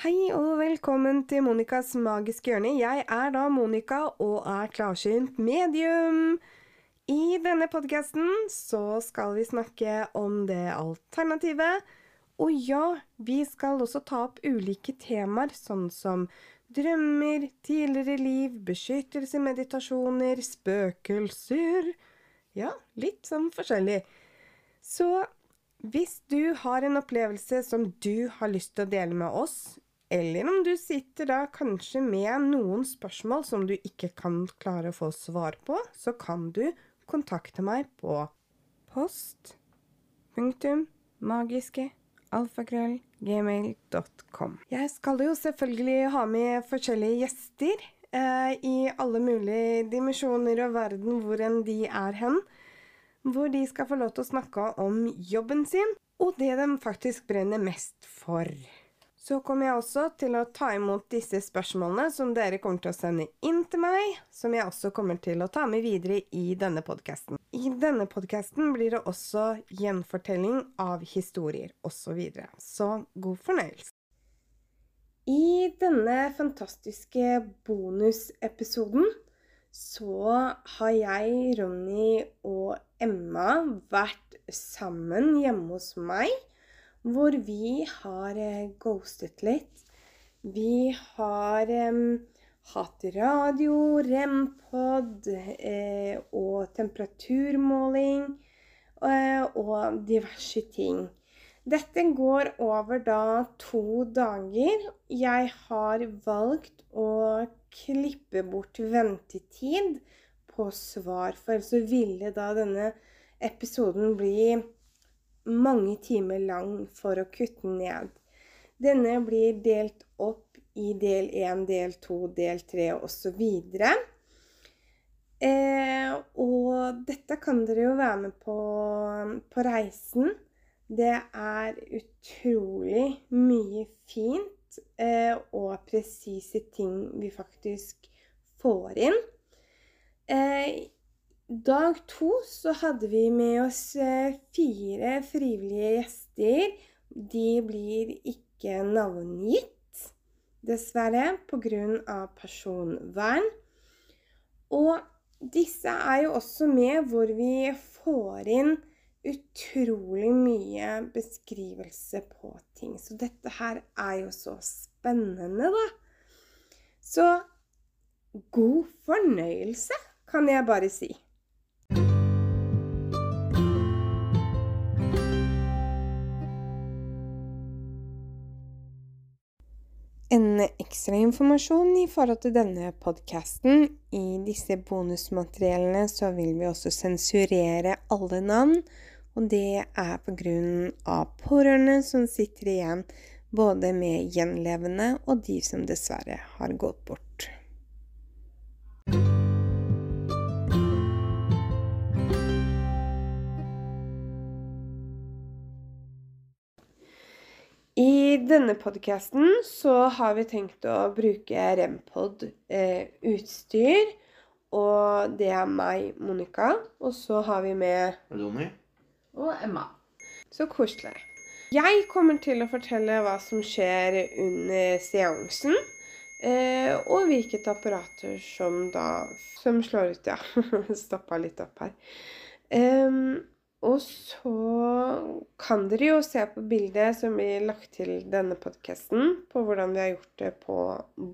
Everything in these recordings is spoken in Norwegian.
Hei og velkommen til Monicas magiske hjørne. Jeg er da Monica og er klarsynt medium. I denne podkasten så skal vi snakke om det alternativet. Og ja, vi skal også ta opp ulike temaer, sånn som drømmer, tidligere liv, beskyttelse, meditasjoner, spøkelser Ja, litt sånn forskjellig. Så hvis du har en opplevelse som du har lyst til å dele med oss, eller om du sitter da kanskje med noen spørsmål som du ikke kan klare å få svar på, så kan du kontakte meg på post punktum magiske alfakrøll gmail.com. Jeg skal jo selvfølgelig ha med forskjellige gjester eh, i alle mulige dimensjoner og verden hvor enn de er hen hvor de skal få lov til å snakke om jobben sin, og det de faktisk brenner mest for. Så kommer jeg også til å ta imot disse spørsmålene som dere kommer til å sende inn til meg, som jeg også kommer til å ta med videre i denne podkasten. I denne podkasten blir det også gjenfortelling av historier osv. Så, videre. så god fornøyelse. I denne fantastiske bonusepisoden så har jeg, Ronny og Emma vært sammen hjemme hos meg, hvor vi har eh, ghostet litt. Vi har em, hatt radio, rempod eh, og temperaturmåling eh, og diverse ting. Dette går over da to dager. Jeg har valgt å klippe bort ventetid på svar, for ellers så ville da denne episoden bli mange timer lang for å kutte den ned. Denne blir delt opp i del 1, del 2, del 3 osv. Eh, og dette kan dere jo være med på på reisen. Det er utrolig mye fint eh, og presise ting vi faktisk får inn. Eh, dag to så hadde vi med oss eh, fire frivillige gjester. De blir ikke navngitt, dessverre, pga. personvern. Og disse er jo også med hvor vi får inn utrolig mye beskrivelse på ting. Så dette her er jo så spennende, da. Så god fornøyelse, kan jeg bare si. En ekstra informasjon i forhold til denne podkasten. I disse bonusmateriellene så vil vi også sensurere alle navn. Og det er pga. pårørende som sitter igjen, både med gjenlevende og de som dessverre har gått bort. I denne podkasten så har vi tenkt å bruke Rempod-utstyr. og det er meg, Monica. Og så har vi med Ronny? Og Emma. Så koselig. Jeg kommer til å fortelle hva som skjer under seansen. eh, Og hvilket apparater som da Som slår ut, ja. Stoppa litt opp her. Em, og så kan dere jo se på bildet som blir lagt til denne podkasten, på hvordan vi har gjort det på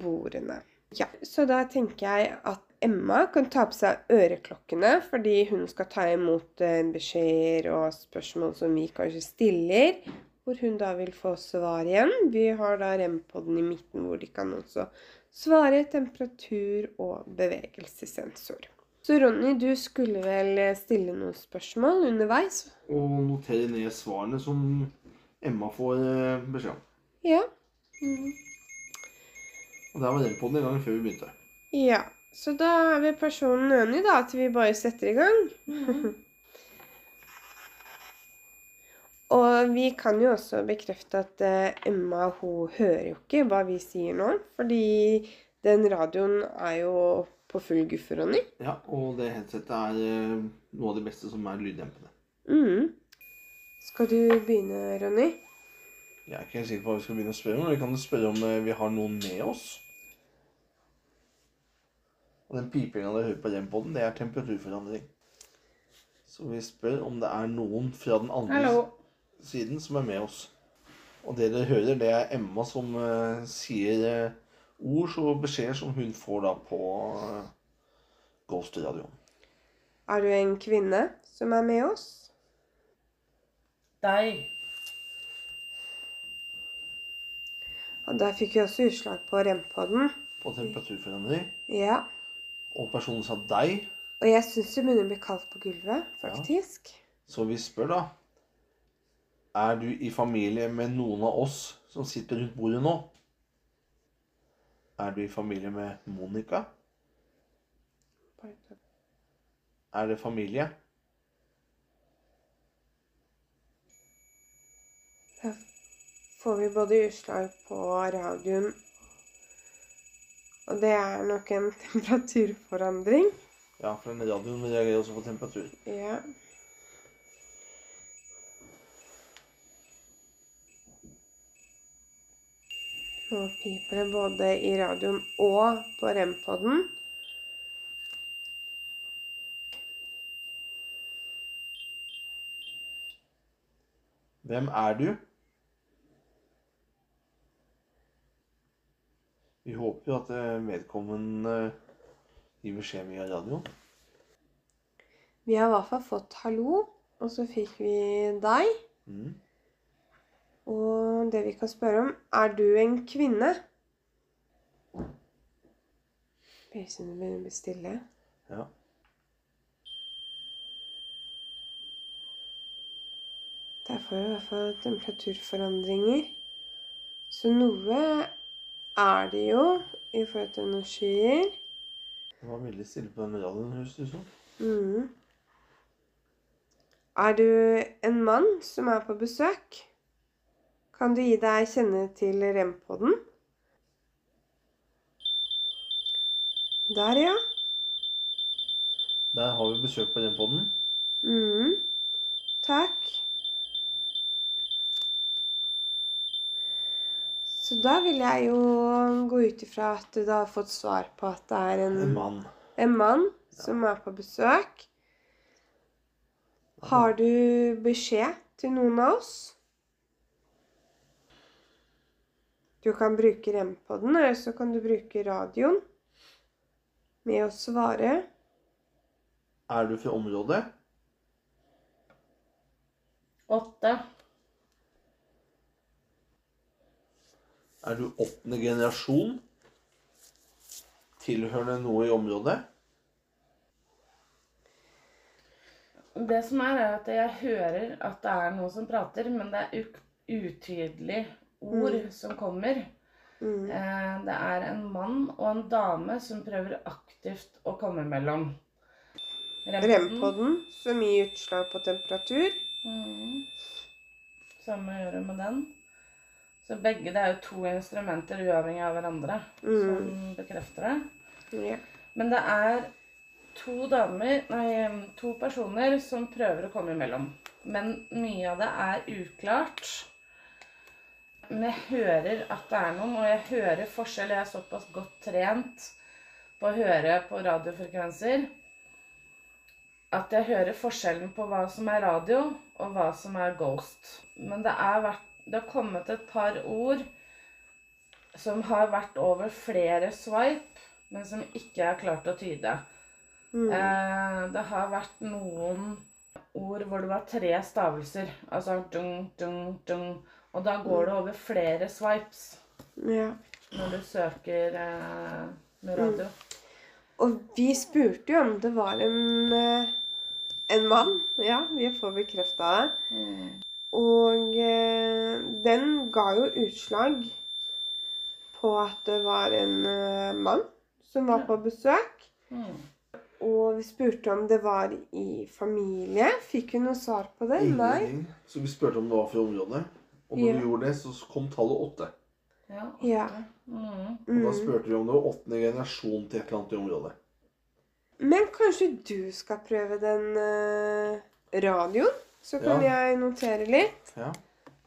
bordene. Ja, Så da tenker jeg at Emma kan ta på seg øreklokkene, fordi hun skal ta imot eh, beskjeder og spørsmål som vi kanskje stiller, hvor hun da vil få svar igjen. Vi har da rempodden i midten, hvor de kan også svare temperatur og bevegelsessensor. Så Ronny, du skulle vel eh, stille noen spørsmål underveis? Og notere ned svarene som Emma får eh, beskjed om. Ja. Mm. Og der var den på den en gang før vi begynte. Ja, så da er vi personen enig da, at vi bare setter i gang. Og vi kan jo også bekrefte at eh, Emma hun hører jo ikke hva vi sier nå. Fordi den radioen er jo på full guffe, Ronny. Ja, og det headsetet er eh, noe av det beste som er lyddempende. Mhm. Skal du begynne, Ronny? Jeg er ikke helt sikker på hva vi skal begynne å spørre om. men Vi kan jo spørre om eh, vi har noen med oss. Og den pipinga dere hører på rem det er temperaturforandring. Så vi spør om det er noen fra den andre Hallo. siden som er med oss. Og det dere hører, det er Emma som eh, sier eh, ord og beskjeder som hun får da på eh, Ghost-radioen. Er du en kvinne som er med oss? Deg. Og der fikk vi også utslag på rempodden. På temperaturforandring. Ja. Og personen sa deg. Og jeg syns det begynner å bli kaldt på gulvet, faktisk. Så vi spør da Er du i familie med noen av oss som sitter rundt bordet nå? Er du i familie med Monica? Er det familie? Da får vi både utslag på radioen Og det er nok en temperaturforandring. Ja, for den radioen reagerer også på temperatur. Ja. Nå piper det både i radioen og på rempodden. Hvem er du? Vi håper jo at eh, vedkommende gir beskjed via radioen. Vi har i hvert fall fått 'hallo', og så fikk vi 'deg'. Mm. Og det vi kan spørre om, er du en kvinne? Pysene begynner å bli stille. Ja. Der får vi i hvert fall temperaturforandringer. Så noe er det jo i forhold til noen skyer. Det var veldig stille på den radioen, høres det ut som. Mhm. Er du en mann som er på besøk? Kan du gi deg kjenne til rempodden? Der, ja. Der har vi besøk på den podden. Mhm. Takk. Så da vil jeg jo gå ut ifra at du da har fått svar på at det er en, En mann. en mann som er på besøk. Har du beskjed til noen av oss? Du kan bruke rempodden, eller så kan du bruke radioen med å svare. Er du fra området? Åtte. Er du åttende generasjon? Tilhørende noe i området? Det som er, er at jeg hører at det er noen som prater, men det er uk- utydelig ord som kommer. Mm. Eh, Det er en mann og en dame som prøver aktivt å komme mellom. Rempodden, som gir utslag på temperatur. Mhm. Samme gjør det med den. Så begge, det er jo to instrumenter uavhengig av hverandre som Mm. bekrefter det. Ja. Men det er to damer, nei, to personer som prøver å komme imellom. Men mye av det er uklart. Men jeg hører at det er noen, og jeg hører forskjell. Jeg er såpass godt trent på å høre på radiofrekvenser at jeg hører forskjellen på hva som er radio, og hva som er ghost. Men det, er vært, det har kommet et par ord som har vært over flere swipe, men som ikke er klart å tyde. Mm. Eh, det har vært noen ord hvor det var tre stavelser. Altså dung, dung, dung. Og da går det over flere swipes ja. når du søker eh, med radio. Og vi spurte jo om det var en, eh, en mann. Ja, vi får bekrefta det. Mm. Og eh, den ga jo utslag på at det var en eh, mann som var på besøk. Mm. Og vi spurte om det var i familie. Fikk vi noe svar på det? Nei. Ingenting. Så vi spurte om det var fra området. Og når Ja. vi gjorde det, så kom tallet åtte. Ja. Ja. åtte. Mm. Og da Mm. spurte vi om det var åttende generasjon til et eller annet i området. Men kanskje du skal prøve den eh, radioen? Så kan Ja. jeg notere litt. Ja.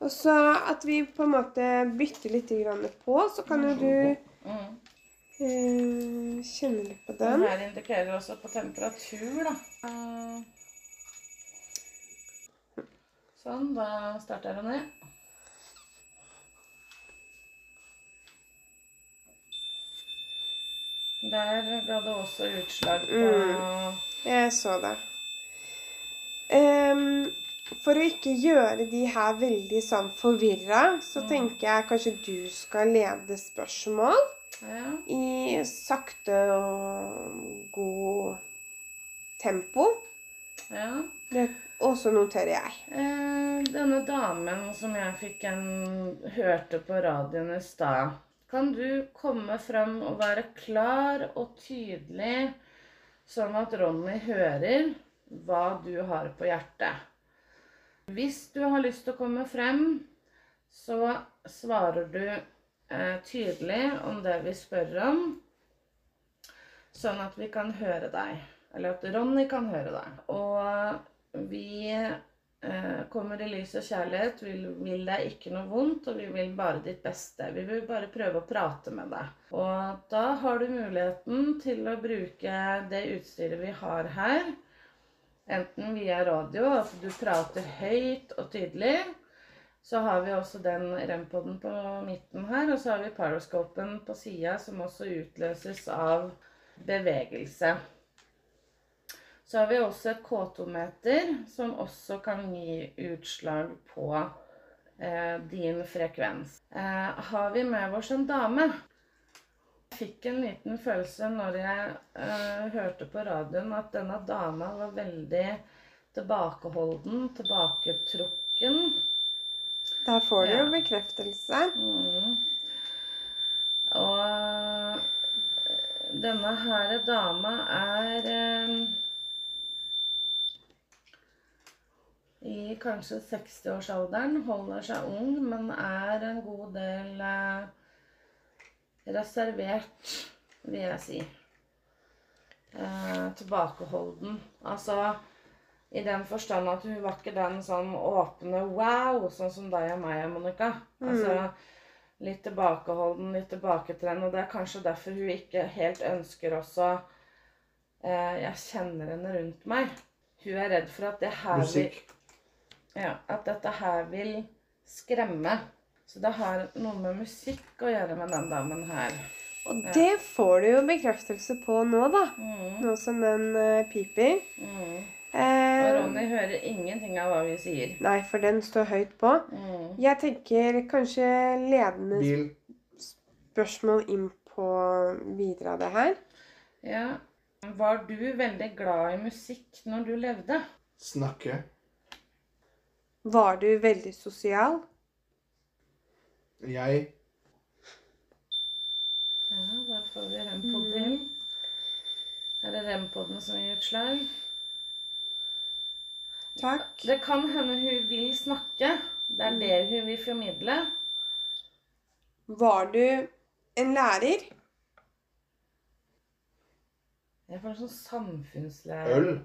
Og så at vi på en måte bytter litt grann på, så kan jo du Mm. eh, kjenne litt på Den den. her indikerer også på temperatur, da. Eh, Sånn, da starter jeg ned. Der ga det også utslag på Mm. Jeg så det. Ehm, for å ikke gjøre de her veldig sånn forvirra, så Mm. tenker jeg kanskje du skal lede spørsmål ja. i sakte og god tempo. ja. Det- Og så noterer jeg. Eh, denne damen som jeg fikk en hørte på radioen i stad Kan du komme fram og være klar og tydelig, sånn at Ronny hører hva du har på hjertet? Hvis du har lyst til å komme frem, så svarer du eh, tydelig om det vi spør om, sånn at vi kan høre deg. Eller at Ronny kan høre deg. Og vi Eh, Kommer i lys og kjærlighet, vil, vil deg ikke noe vondt, og vi vil bare ditt beste. Vi vil bare prøve å prate med deg. Og da har du muligheten til å bruke det utstyret vi har her, enten via radio, at du prater høyt og tydelig. Så har vi også den rempoden på midten her, og så har vi paroscopen på sida, som også utløses av bevegelse. Så har vi også et K2-meter, som også kan gi utslag på eh, din frekvens. Eh, har vi med oss en dame? Jeg fikk en liten følelse når jeg eh, hørte på radioen at denne dama var veldig tilbakeholden, tilbaketrukken. Der får du Ja. jo bekreftelse. Mm. Og eh, denne her dama er eh, i kanskje 60-årsalderen, holder seg ung, men er en god del eh, reservert, vil jeg si. Eh, tilbakeholden. Altså i den forstand at hun var ikke den sånn åpne wow, sånn som deg og meg, Monica. Altså litt tilbakeholden, litt tilbaketrenn. Og det er kanskje derfor hun ikke helt ønsker også eh, Jeg kjenner henne rundt meg. Hun er redd for at det her vil, Musikk. ja, at dette her vil skremme. Så det har noe med musikk å gjøre med den damen her. Og det får du jo bekreftelse på nå, da. Mm, Nå som den eh, piper. mm. Og Eh, Ronny hører ingenting av hva vi sier. nei, for den står høyt på. Mm. Jeg tenker kanskje ledende Bil. spørsmål inn på videre av det her. Ja. Var du veldig glad i musikk når du levde? Snakke. Var du veldig sosial? Jeg. Ja, da får vi rempod til. Her er rempoden som gir utslag. Takk. Det kan hende hun vil snakke. Det er det hun vil formidle. Var du en lærer? Jeg får en sånn samfunnslærer. Øl.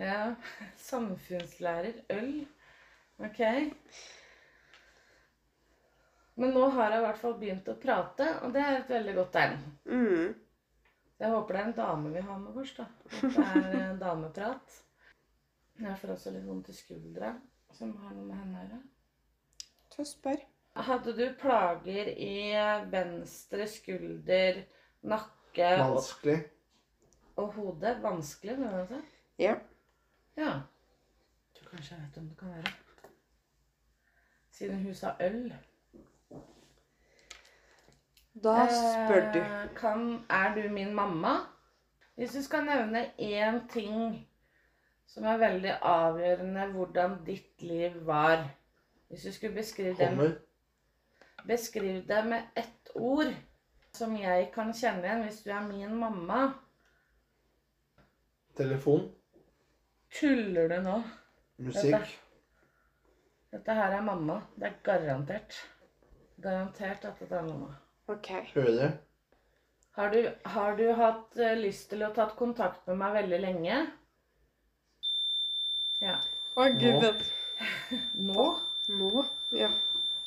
Ja, samfunnslærer. Øl. Ok. Men nå har jeg i hvert fall begynt å prate, og det er et veldig godt tegn. Mm. Jeg håper det er en dame vi har med oss, da. At det er eh, dameprat. Jeg får også litt vondt i skuldra, som har noe med henne å gjøre. Så spør. Hadde du plager i venstre skulder, nakke og, Vanskelig. og hode? Vanskelig, mener du det? Ja. Ja. Jeg tror kanskje jeg vet om det kan være. Siden hun sa øl. Da spør du. Eh, Kan, er du min mamma? Hvis du skal nevne én ting som er veldig avgjørende hvordan ditt liv var Hvis du skulle beskrive det med Kommer. Beskriv det med ett ord som jeg kan kjenne igjen hvis du er min mamma. Telefon. Tuller du nå? Musikk. Dette her er mamma. Det er garantert. Garantert at dette er mamma. Ok. Høre. Har du, har du hatt eh, lyst til å tatt kontakt med meg veldig lenge? Ja. Å, gud. Nå. det- Nå? Nå? Ja.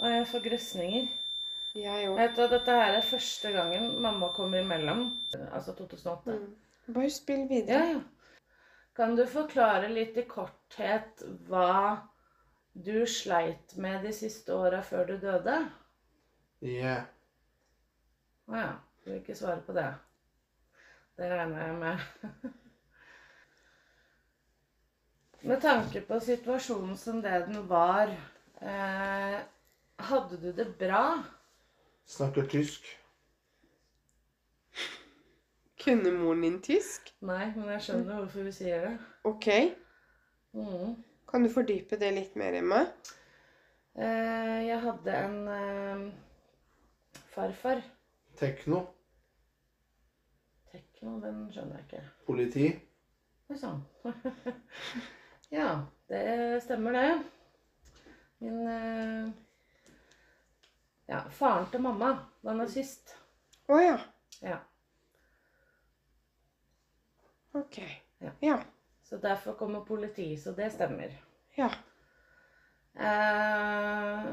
Og jeg får grøsninger. Jeg òg. Vet du, Dette her er første gangen mamma kommer imellom. Altså 2008. Mm. Bare spill Ja, videre. ja. Kan du forklare litt i korthet hva du sleit med de siste åra før du døde? Yeah. Å ja. Du vil ikke svare på det? Det regner jeg med. Med tanke på situasjonen som det den var, eh, hadde du det bra? Snakker tysk. Kunne moren din tysk? Nei, men jeg skjønner hvorfor vi sier det. Ok. Mm. Kan du fordype det litt mer, Emma? Eh, jeg hadde en eh, farfar. Tekno. Tekno, den skjønner jeg ikke. Politi. Oi sann. ja, det stemmer, det. Min eh, Ja, faren til mamma var nazist. Å ja. Ja. Ok. Ja. Ja. Så derfor kommer politi, så det stemmer. Ja. Eh,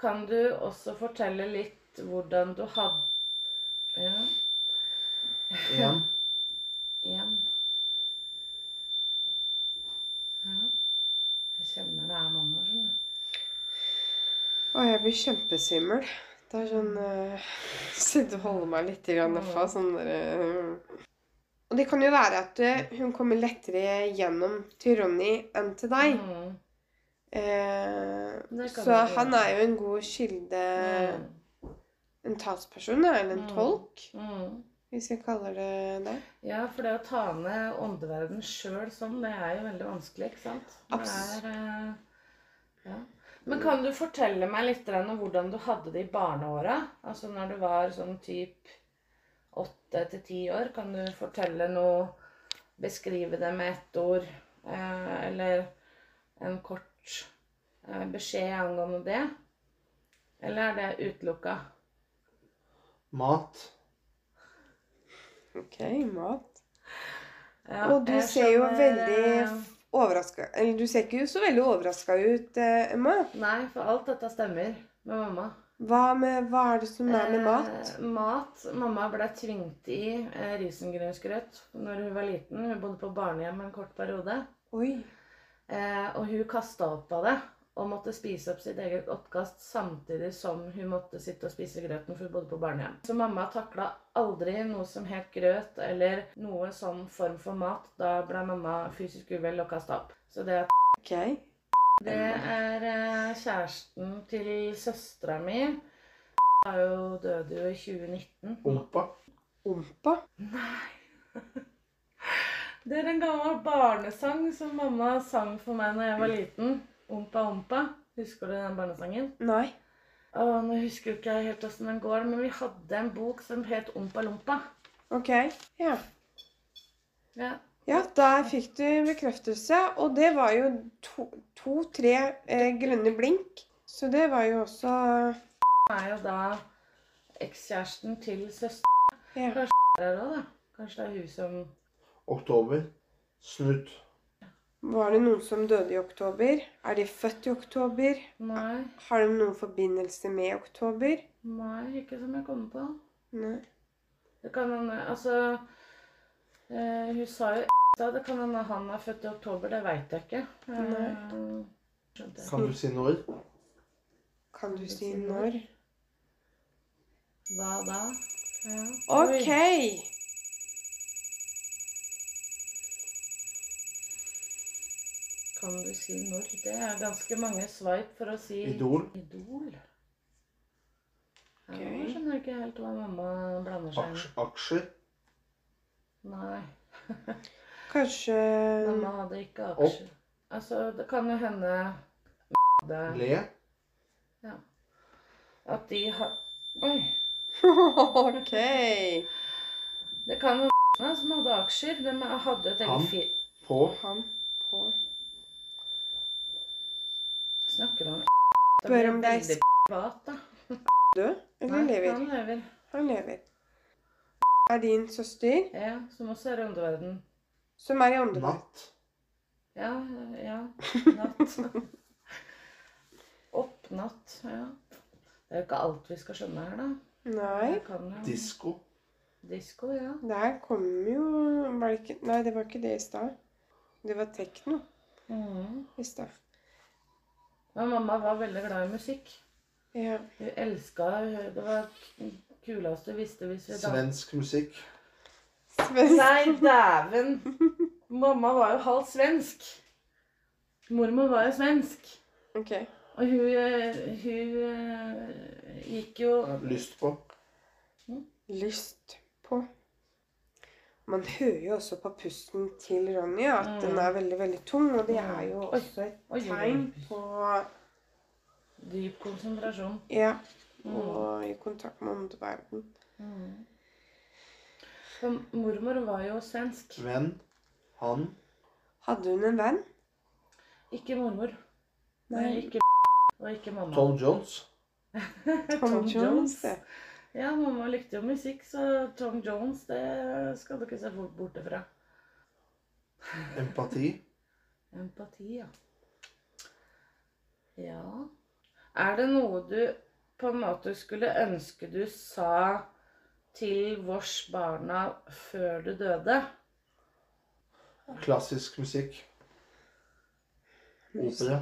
kan du også fortelle litt hvordan du hadde ja. Én. Igjen. Ja. Jeg kjenner det er mamma, skjønner du. Å, jeg blir kjempesvimmel. Det er sånn uh, Sitte og holde meg litt grann derfra. Sånn der, eh. Og det kan jo være at eh, hun kommer lettere gjennom til Ronny enn til deg. Mm. Eh, Det kan så det han være. er jo en god kilde Mm. En talsperson, da, eller en Mm. tolk, Mm. hvis jeg kaller det det. Ja, for det å ta ned åndeverdenen sjøl sånn, det er jo veldig vanskelig, ikke sant? Det Abs- er, eh, ja. Men kan du fortelle meg litt grann om hvordan du hadde det i barneåra? Altså når du var sånn typ åtte til ti år, kan du fortelle noe? Beskrive det med ett ord? Eh, eller en kort eh, beskjed angående det? Eller er det utelukka? Mat. Ok, mat. Ja, Og du jeg ser jo skjønner, veldig eh, Overraska Eller du ser ikke så veldig overraska ut, eh, Emma. Nei, for alt dette stemmer med mamma. Hva, med, hva er det som er med mat? Eh, mat. Mamma ble tvunget i eh, risengrynsgrøt når hun var liten. Hun bodde på barnehjem en kort periode. Oi. Eh, og hun kasta opp av det og måtte spise opp sitt eget oppkast samtidig som hun måtte sitte og spise grøten, for hun bodde på barnehjem. Så mamma takla aldri noe som het grøt eller noe sånn form for mat. Da ble mamma fysisk uvel og kasta opp. Så det at Ok. det er eh, kjæresten til søstera mi. Har jo døde jo i 2019. Ompa. Ompa. Det er en gammel barnesang som mamma sang for meg når jeg var liten. Ompa ompa. Husker du den barnesangen? Nei. Å, nå husker ikke jeg helt åssen den går, men vi hadde en bok som het Ompa lompa. Ok. Ja. Ja. ja, der fikk du bekreftelse. Og det var jo to-tre eh, grønne blink. Så det var jo også Hun er jo da ekskjæresten til søstera ja. òg, da. Kanskje det er hun som Oktober. Snutt. Var det noen som døde i oktober? Er de født i oktober? Nei. Har de noen forbindelse med oktober? Nei, ikke som jeg kommer på. Nei. Det kan hende Altså eh, Hun sa jo da, det kan hende han er født i oktober, det veit jeg ikke. Nei. Eh, skjønte jeg. Kan du si når? Kan du si når? Hva da? Ja. Ok. Oi. Kan du si når? Det er ganske mange sveip for å si Idol. Idol. Ja, Ok. Jeg skjønner ikke helt hva mamma blander seg inn i. Aksj- Aksjer. Nei. Kanskje Mamma hadde ikke aksjer. Altså, det kan jo hende det- Le. at de har Oi. Ok. Det kan jo hende som hadde aksjer. De hadde et Han. eget fir... På. Han på Snakker om Da Spør blir om det er veldig privat, da. død? Eller Nei, lever? Han lever. Han lever. Er din søster, Ja, som også er i åndeverden. som er i åndedrett Natt. Ja, ja. Natt. Natt, ja. Det er jo ikke alt vi skal skjønne her, da. Nei. Jeg Kan jo. Disko. Disko, ja. Der kom jo var det ikke, Nei, det var ikke det i stad. Det var tekno Mhm. i stad. Men mamma var veldig glad i musikk. Ja. Hun elska Det var k- kuleste hun visste hvis vi danset. Svensk musikk. Svensk. Nei, dæven! Mamma var jo halvt svensk. Mormor var jo svensk. Ok. Og hun, eh, hun eh, gikk jo Lyst på. Lyst på. Man hører jo også på pusten til Ronny at Mm. den er veldig, veldig tung. Og det er jo Oi. også et Oi, oi, oi. tegn på dyp konsentrasjon. Ja. Mm. Og i kontakt med omverdenen. Mm. For mormor var jo svensk. Venn. Han. Hadde hun en venn? Ikke mormor. Nei, ikke og ikke mamma. Tom Jones. Tom Jones. det. Ja, mamma likte jo musikk, så Tom Jones, det skal du ikke se bort borte fra. Empati. Empati, ja. Ja Er det noe du på en måte skulle ønske du sa til vårs barna før du døde? Klassisk musikk. Opera.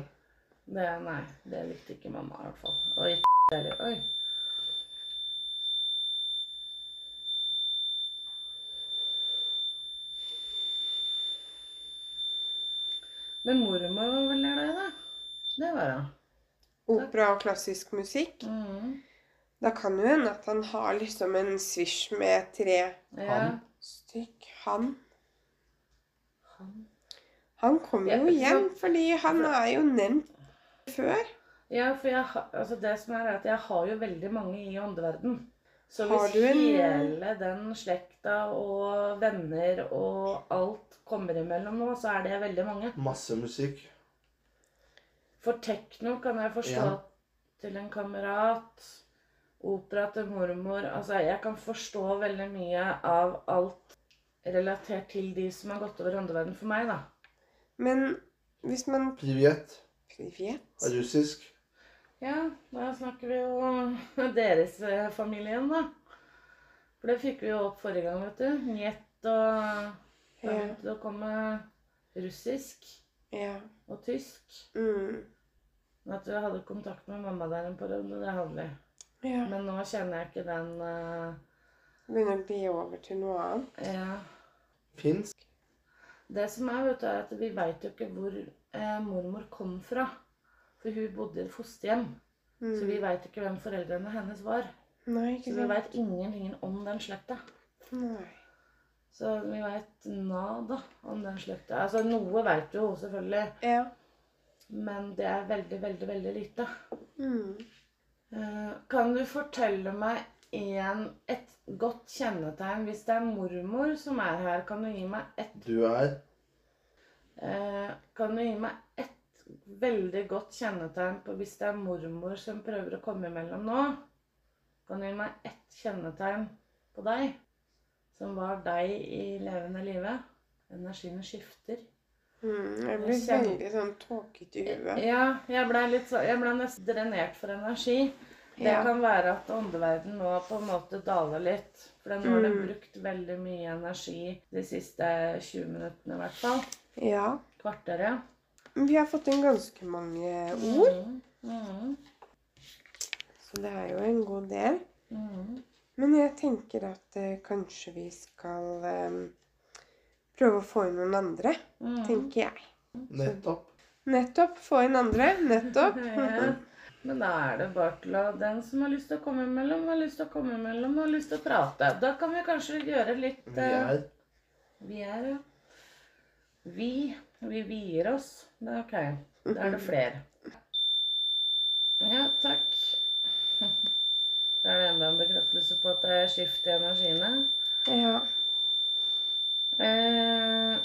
Det, nei, det likte ikke mamma i hvert fall. Oi, der, oi. Men mormor var veldig glad i det. Det var hun. Opera og klassisk musikk. Mhm. Da kan jo hende at han har liksom en svisj med tre Ja. Han. stykk. Han Han. Han kommer jo Ja, igjen, så- fordi han er jo nevnt før. Ja, for jeg, har- altså det som er, er at jeg har jo veldig mange i åndeverden. Så Har hvis du en- hele den slekta og venner og alt kommer imellom nå, så er det veldig mange. Masse musikk. For tekno kan jeg forstå Ja. til en kamerat. Opera til mormor. Altså, jeg kan forstå veldig mye av alt relatert til de som har gått over åndeverden for meg, da. Men hvis man Privet. Privet. Russisk. Ja, da snakker vi jo deres eh, familie igjen, da. For det fikk vi jo opp forrige gang, vet du. Njet og Da Ja. begynte det å komme russisk ja. og tysk. Mm. Men at vi hadde kontakt med mamma der en periode, det hadde vi. ja. Men nå kjenner jeg ikke den eh, Begynner å bli over til noe annet. Ja. Finsk. Det som er, vet du, er at vi veit jo ikke hvor eh, mormor kom fra. For hun bodde i et fosterhjem. Mm. Så vi veit ikke hvem foreldrene hennes var. Nei, Så ikke sant? vi veit ingenting om den slekta. Nei. Så vi veit nada om den slekta. Altså noe veit vi jo selvfølgelig, Ja. men det er veldig, veldig, veldig lite. Mm. Eh, kan du fortelle meg en, et godt kjennetegn hvis det er mormor som er her? Kan du gi meg et Du er Eh, kan du gi meg ett veldig godt kjennetegn på hvis det er mormor som prøver å komme imellom nå? Kan du gi meg ett kjennetegn på deg som var deg i levende live? Energiene skifter. Mm. Jeg blir Jeg kjenner- veldig sånn tåkete i huet. Ja, jeg ble, litt så, jeg ble nesten drenert for energi. Det Ja. kan være at åndeverden nå på en måte daler litt. For nå har det Mm. brukt veldig mye energi de siste 20 minuttene i hvert fall. ja. Kvarteret. Men Vi har fått inn ganske mange ord, Mm. Mm. så det er jo en god del. Mm. Men jeg tenker at eh, kanskje vi skal eh, prøve å få inn noen andre, Mm. tenker jeg. nettopp. Nettopp. Få inn andre. Nettopp. Ja. Men da er det bare til å Den som har lyst til å komme imellom, har lyst til å komme imellom og har lyst til å prate. Da kan vi kanskje gjøre litt Vi er eh, Vi er ja. Vi. Vi vier oss. Det er ok. Da er det flere. Ja, takk. Da er det enda en bekreftelse på at det er skift i energiene. Ja. Eh,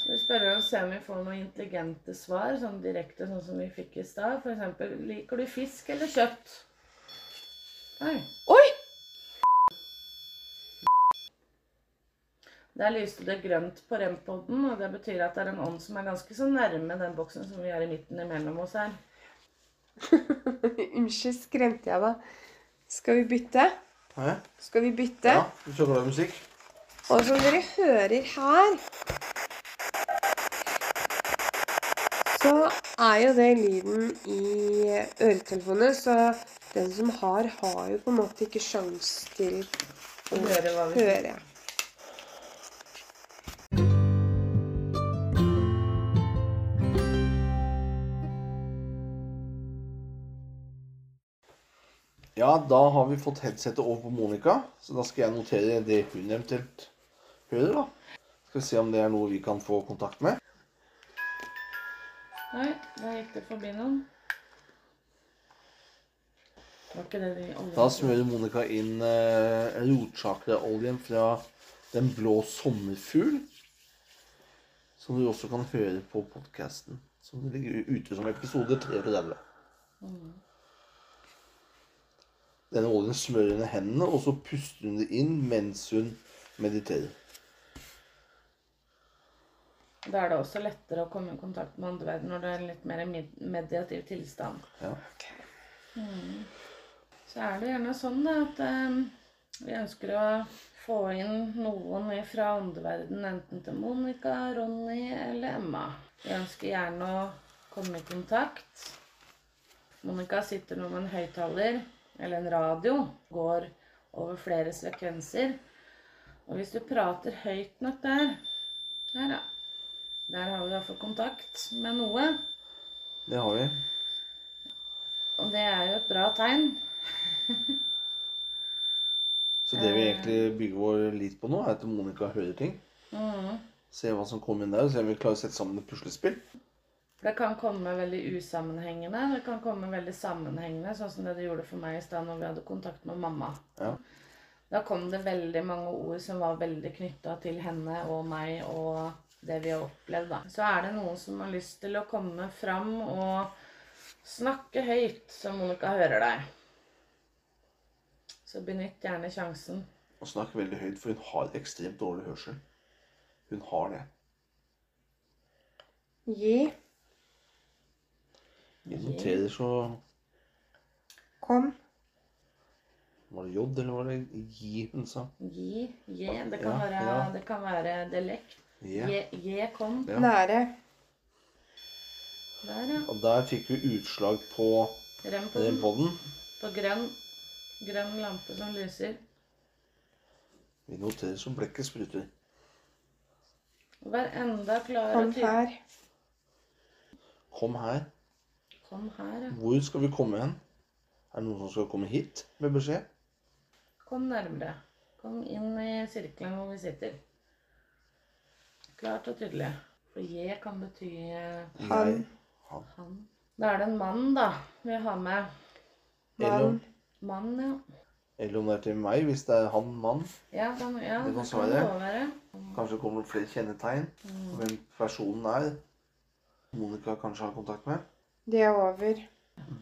skal vi spørre og se om vi får noen intelligente svar, sånn direkte, sånn som vi fikk i stad? For eksempel, liker du fisk eller kjøtt? Oi. Oi! Der lyste det grønt på rempodden, og det betyr at det er en ånd som er ganske så nærme den boksen som vi er i midten imellom oss her. Unnskyld, skremte jeg da. Skal vi bytte? Hæ? Skal vi bytte? Ja, du skal glad i musikk? Og som dere hører her Så er jo det lyden i øretelefoner, så den som har, har jo på en måte ikke sjans til å Høre hva vi- høre. Ja, da har vi fått headsetet over på Monica, så da skal jeg notere det hun eventuelt hører, da. Skal vi se om det er noe vi kan få kontakt med. Nei, der gikk det forbi noen. Var ikke det de Da smører Monica inn eh, rotchakraoljen fra Den blå sommerfugl. Som du også kan høre på podkasten. Som ligger ute som episode 33. Denne oljen smører under hendene, og så puster hun det inn mens hun mediterer. Da er det også lettere å komme i kontakt med åndeverden når det er en litt mer med- mediativ tilstand. Ja. Så er det gjerne sånn da, at eh, vi ønsker å få inn noen fra åndeverden, enten til Monica, Ronny eller Emma. Vi ønsker gjerne å komme i kontakt. Monica sitter nå med en høyttaler eller en radio, går over flere sekvenser. Og hvis du prater høyt nok der Der, ja. Der har vi i hvert fall kontakt med noe. Det har vi. Og det er jo et bra tegn. Så det vi egentlig bygger vår lit på nå, er at Monica hører ting. Mhm. Se hva som kommer inn der, og se om vi klarer å sette sammen et puslespill. For Det kan komme veldig usammenhengende, det kan komme veldig sammenhengende, sånn som det det gjorde for meg i stad når vi hadde kontakt med mamma. Ja. Da kom det veldig mange ord som var veldig knytta til henne og meg og det vi har opplevd, da. Så er det noen som har lyst til å komme fram og snakke høyt, så Monica hører deg. Så benytt gjerne sjansen. Og snakk veldig høyt, for hun har ekstremt dårlig hørsel. Hun har det. Gi, Vi noterer så kom, Var det J, eller var det J hun sa? Gi, je. Det kan Ja, være, ja. det kan være dialekt. J. Je, je kom. Ja. nære, Der, ja. Og der fikk vi utslag på eh, Rem på den den. podden. på grønn, grønn lampe som lyser. Vi noterer så blekket spruter. Og Vær enda klar kom og tydelig. her. Kom her. Kom her. ja. Hvor skal vi komme hen? Er det noen som skal komme hit med beskjed? Kom nærmere. Kom inn i sirkelen hvor vi sitter. Klart og tydelig. For je kan bety eh, Han. Jeg- Han. han. Da er det en mann, da, vi har med. Eller, om- Mann, ja. eller om det er til meg, hvis det er han, mann. Ja, kan, ja Det det kan kan svare. det også være. Kanskje kommer det flere kjennetegn. Hvem personen er. Monica kanskje har kontakt med. Det er over.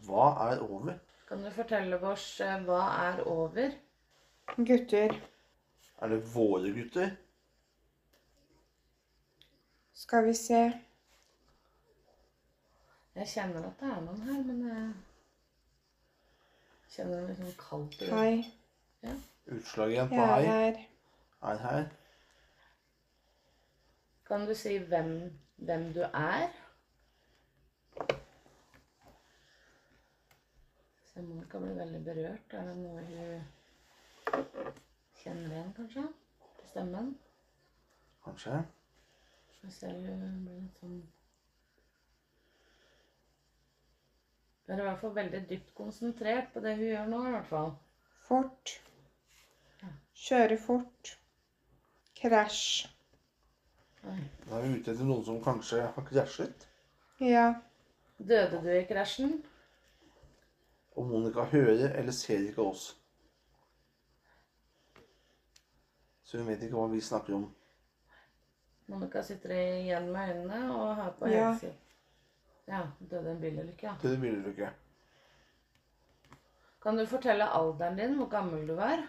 Hva er over? Kan du fortelle oss eh, hva er over? Gutter, Er det våre gutter? skal vi se. Jeg kjenner at det er noen her, men jeg kjenner det liksom kaldt i Hei, Utslag igjen på jeg er hei. her. Er her. Kan du si hvem, hvem du er? Så Monica blir veldig berørt. Er det noe hun kjenner igjen, kanskje? På stemmen? Kanskje. Jeg ser hun blir litt sånn Hun er i hvert fall veldig dypt konsentrert på det hun gjør nå, i hvert fall. Fort. Kjøre fort. Krasj. Oi. Da er vi ute etter noen som kanskje har krasjet. Ja, Døde du i krasjen? Og Monica hører eller ser ikke oss. Så hun vet ikke hva vi snakker om. Monica sitter igjen med øynene og har på Ja. helse. Ja. Døde i en bilulykke, ja. Til det bilulykke. Kan du fortelle alderen din, hvor gammel du var?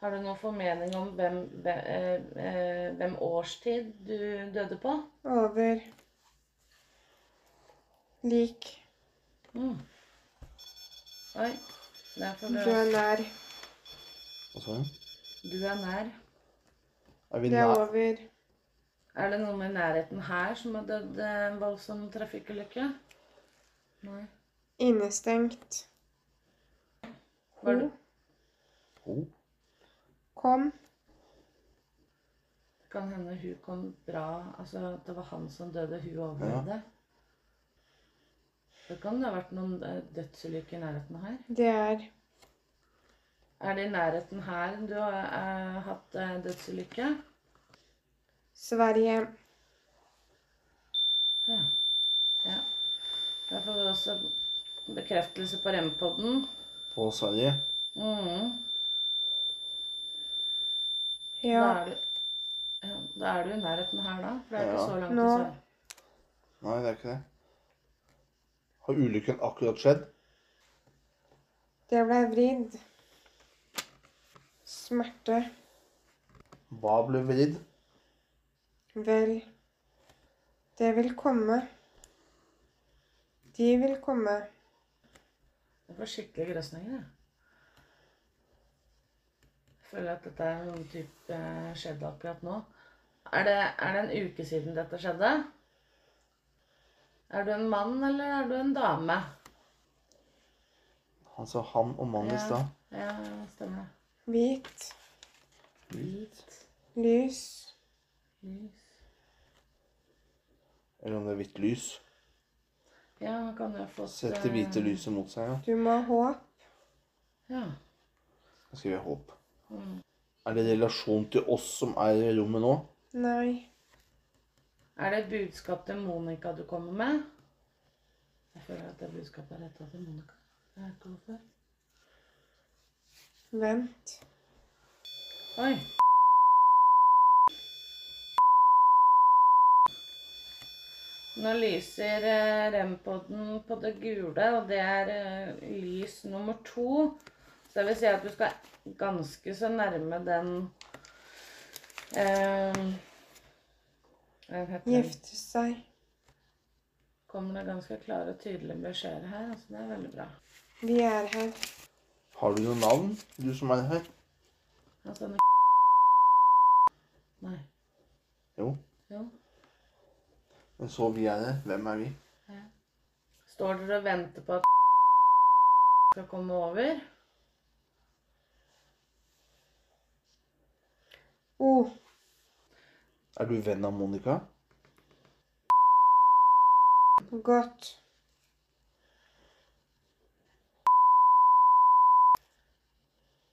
Har du noen formening om hvem, hvem, eh, eh, hvem årstid du døde på? Over. Lik. Mm. Oi. Der får Du du er nær. Hva sa jeg? Du er nær. Er vi Det er nær? over. Er det noen i nærheten her som har dødd eh, en voldsom trafikkulykke? Nei. Innestengt. Var det, Ho. Oh, Kom. kan hende hun kom bra Altså at det var han som døde, og hun overlevde. Det kan ha vært noen eh, dødsulykker i nærheten her. Det er Er det i nærheten her du har eh, hatt eh, dødsulykke? Sverige. Ja. ja. Der får vi også bekreftelse på rempodden. på Sverige? Mm. Da, Ja. er du, ja, da er du i nærheten her, da. For det er Ja. ikke så langt Nå. til sør. Nei, det er ikke det. Har ulykken akkurat skjedd? Det ble vridd. Smerte. Hva ble vridd? Vel. Det vil komme. De vil komme. Jeg får skikkelig grøsninger, jeg. Jeg føler at dette er noen type eh, skjedde akkurat nå. Er det, er det en uke siden dette skjedde? Er du en mann, eller er du en dame? Altså han og mannen i Ja, stad. ja stemmer det. Hvit. Hvit, Lys. lys Eller om det er hvitt lys. Ja, han kan jo ha fått Sett det eh, hvite lyset mot seg, ja. Du må ha håp. Ja. Da skriver jeg håp. Mm. Er det relasjon til oss som er i rommet nå? Nei. Er det et budskap til Monica du kommer med? Jeg føler at det budskapet er retta til Monica. Jeg vet ikke hvorfor. Vent. Oi. Nå lyser eh, rempodden på det gule, og det er eh, lys nummer to. Så det vil si at du skal ganske så nærme den eh, hva heter den? Gifte seg. Kommer det ganske klare og tydelige beskjeder her, altså det er veldig bra. Vi er her. Har du noe navn, du som er her? Altså, den- Nei. Jo. Jo. Men så vi er her. Hvem er vi? Står dere og venter på at skal komme over? O. Er du venn av Monica? Godt.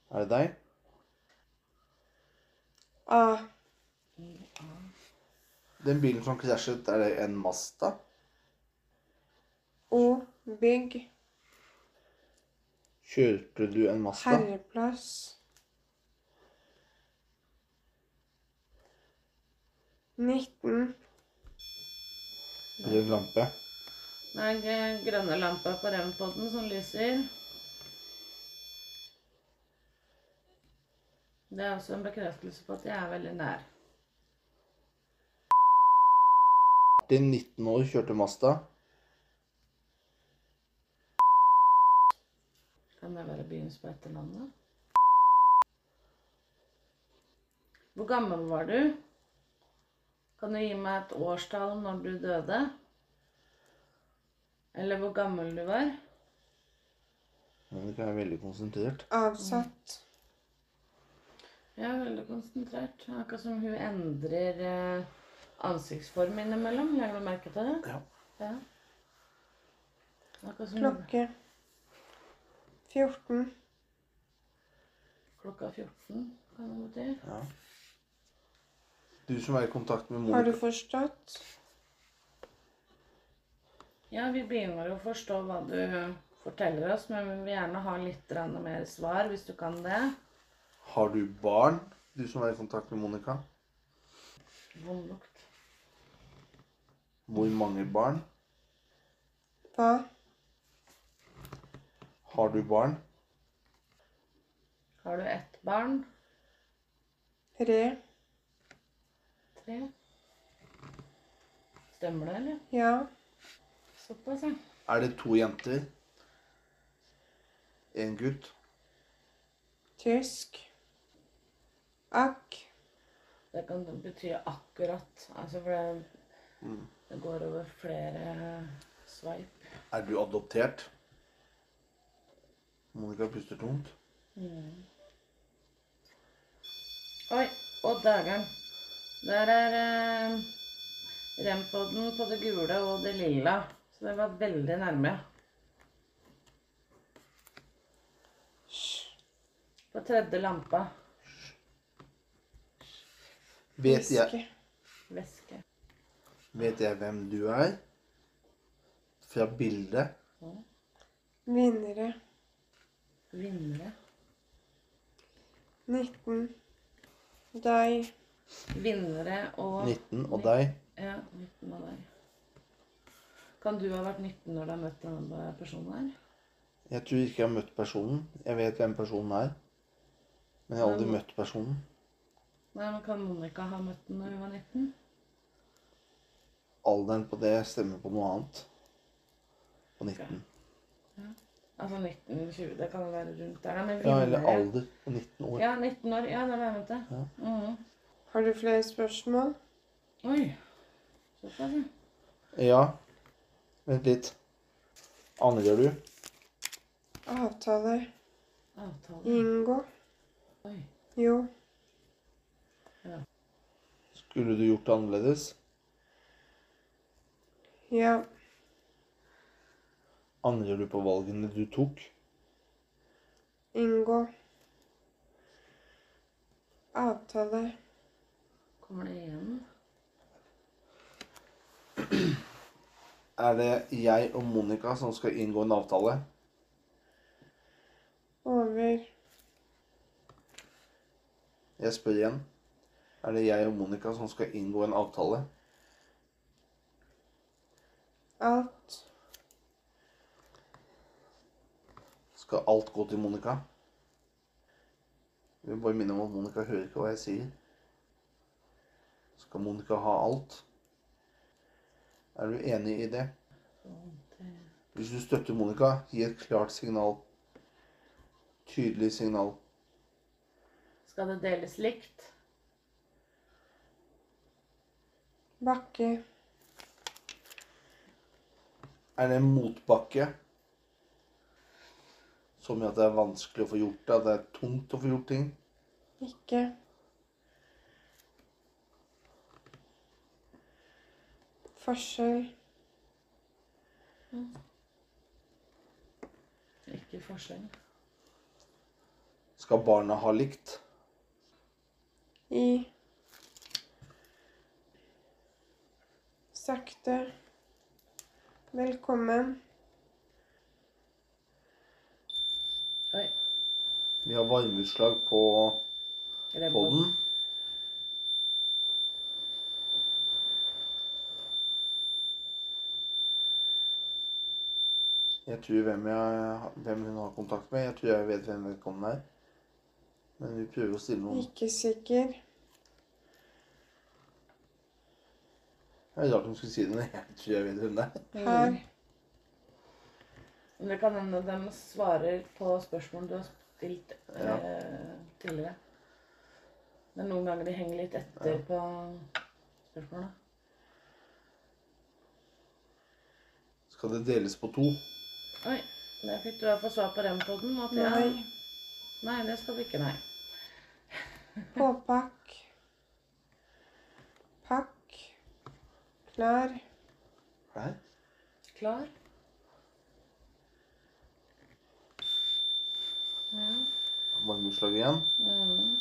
Er det deg? A. Den bilen som krasjet, er det en Mazda? O. Bygg. Kjørte du en Mazda? Herreplass. Nitten. Rød lampe. Det er den grønne lampa på rempodden som lyser. Det er også en bekreftelse på at jeg er veldig nær. Martin, 19 år, kjørte Mazda. Kan det være begynnelsen på etternavnet? Hvor gammel var du? Kan du gi meg et årstall når du døde? Eller hvor gammel du var? Monica er veldig konsentrert. Avsatt. Jeg er veldig konsentrert. Akkurat som hun endrer eh, ansiktsform innimellom. Legger du merke til det? Ja. Ja. Akkurat som Klokke. 14. klokka 14 kan det bety. ja. Du som er i kontakt med Har du Monica. forstått? Ja, vi begynner å forstå hva du forteller oss, men vi vil gjerne ha litt grann mer svar hvis du kan det. Har du barn? Du som er i kontakt med Monica. Vond lukt. Hvor mange barn? Hva? Har du barn? Har du ett barn? Re. Tre. Stemmer det, eller? Ja. Såpass, ja. Er det to jenter? En gutt? Tysk. Akk. Det kan bety akkurat. Altså, for det, Mm. det går over flere sveip. Er du adoptert? Monica puster tungt. Oi, og dægeren. Der er eh, rempodden på det gule og det lilla. Så det var veldig nærme. På tredje lampa. Vet jeg, Tyske. Væske. vet jeg hvem du er? Fra bildet. Vinnere. Vinnere. 19. Deg. Vinnere og 19 og deg. Ja, 19 og deg. Kan du ha vært 19 når du har møtt denne personen her? Jeg tror ikke jeg har møtt personen. Jeg vet hvem personen er. Men jeg har aldri møtt personen. Nei, men Kan Monica ha møtt den når hun var 19? Alderen på det stemmer på noe annet. På 19. Altså 19-20, det kan jo være rundt der. da, Men Ja, eller vinnere- alder på 19 år. Ja, 19 år. Ja, det var jeg mente. Ja. Mhm. Har du flere spørsmål? Oi. Såpass, ja. Ja. Vent litt. Angrer du? Avtaler. Avtale. Inngå. Oi. Jo. Skulle du gjort det annerledes? Ja. Angrer du på valgene du tok? Inngå. Avtale. Kommer det igjen? Er det jeg og Monica som skal inngå en avtale? Over. Jeg spør igjen. Er det jeg og Monica som skal inngå en avtale? Alt. Skal alt gå til Monica? Jeg vil bare minne om at Monica hører ikke hva jeg sier. Skal Monica ha alt? Er du enig i det? Hvis du støtter Monica, gi et klart signal. Tydelig signal. Skal det deles likt? Bakke. Er det en motbakke? Som i at det er vanskelig å få gjort det, at det er tungt å få gjort ting. Ikke. Forskjell. Ikke forskjell. Skal barna ha likt? I. Sakte. Velkommen. Oi. Vi har varmeutslag på Rebel. podden. Jeg tror hvem, jeg, hvem hun har kontakt med. Jeg tror jeg vet hvem vedkommende er. Men vi prøver å stille noen Ikke sikker. Det er rart hun skulle si det, men jeg tror jeg vet hvem det er. Her. Men det kan hende de svarer på spørsmål du har stilt eh, Ja. tidligere. Men noen ganger de henger litt etter på spørsmålene. Skal det deles på to? Oi. Der fikk du i hvert fall svar på rempodden. At ja. Nei. Nei, det skal du ikke. Nei. Påpakk. Pakk. Klar. Her? Klar? Ja. Varmeutslag igjen. Mm.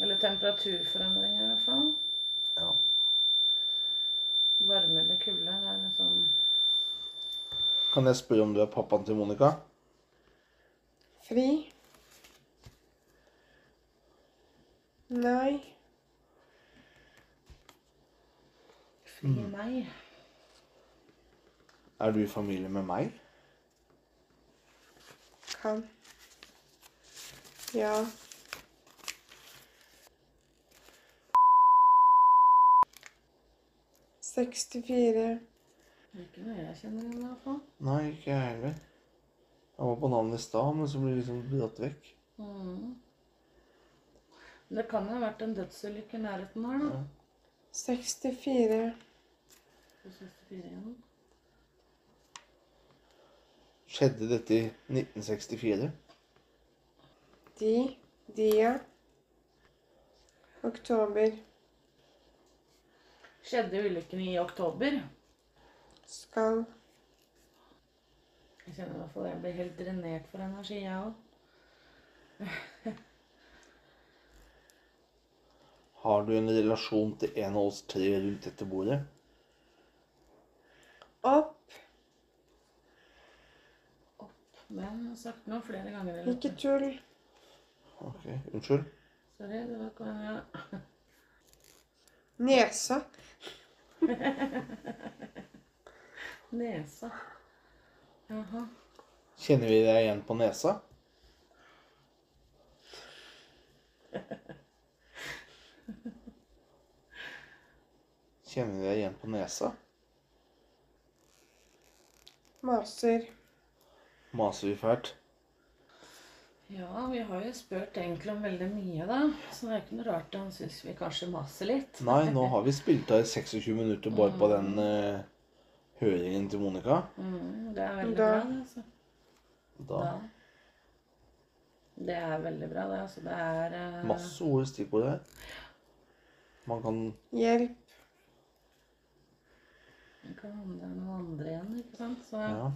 Eller temperaturforandring i hvert fall. Ja. Varme eller kulde. Det er liksom Kan jeg spørre om du er pappaen til Monica? Fri. Nei. fri meg. Er du i familie med meg? Kan. Ja. 64. Det er ikke noe jeg kjenner igjen, i hvert fall. Nei, ikke jeg heller. Jeg var på navnet i stad, men så ble jeg liksom dratt vekk. Mm. Men Det kan jo ha vært en dødsulykke i nærheten her, da. Ja. 64. 264 igjen. Skjedde dette i 1964? De. Dia. Oktober. Skjedde ulykken i oktober? Skal. Jeg kjenner i hvert fall jeg blir helt drenert for energi, jeg òg. Har du en relasjon til en av oss tre rundt dette bordet? Opp. Det har jeg sagt nå flere ganger. eller? Ikke tull. Ok, unnskyld. Sorry, det var ikke meningen. Nesa. Nesa. Jaha. Kjenner vi deg igjen på nesa? Kjenner vi deg igjen på nesa? Maser. Maser vi fælt? Ja, vi har jo spurt egentlig om veldig mye, da. Så det er ikke noe rart at han syns vi kanskje maser litt. Nei, nå har vi spilt av i 26 minutter bare på den eh, høringen til Monica. Mm, det er veldig Da- bra, det. Altså. Da Da. Det er veldig bra, det. Altså, det er eh, masse ord og stikkord her. Man kan Hjelp. Det kan handle om noen andre igjen, ikke sant. Så, ja. Ja.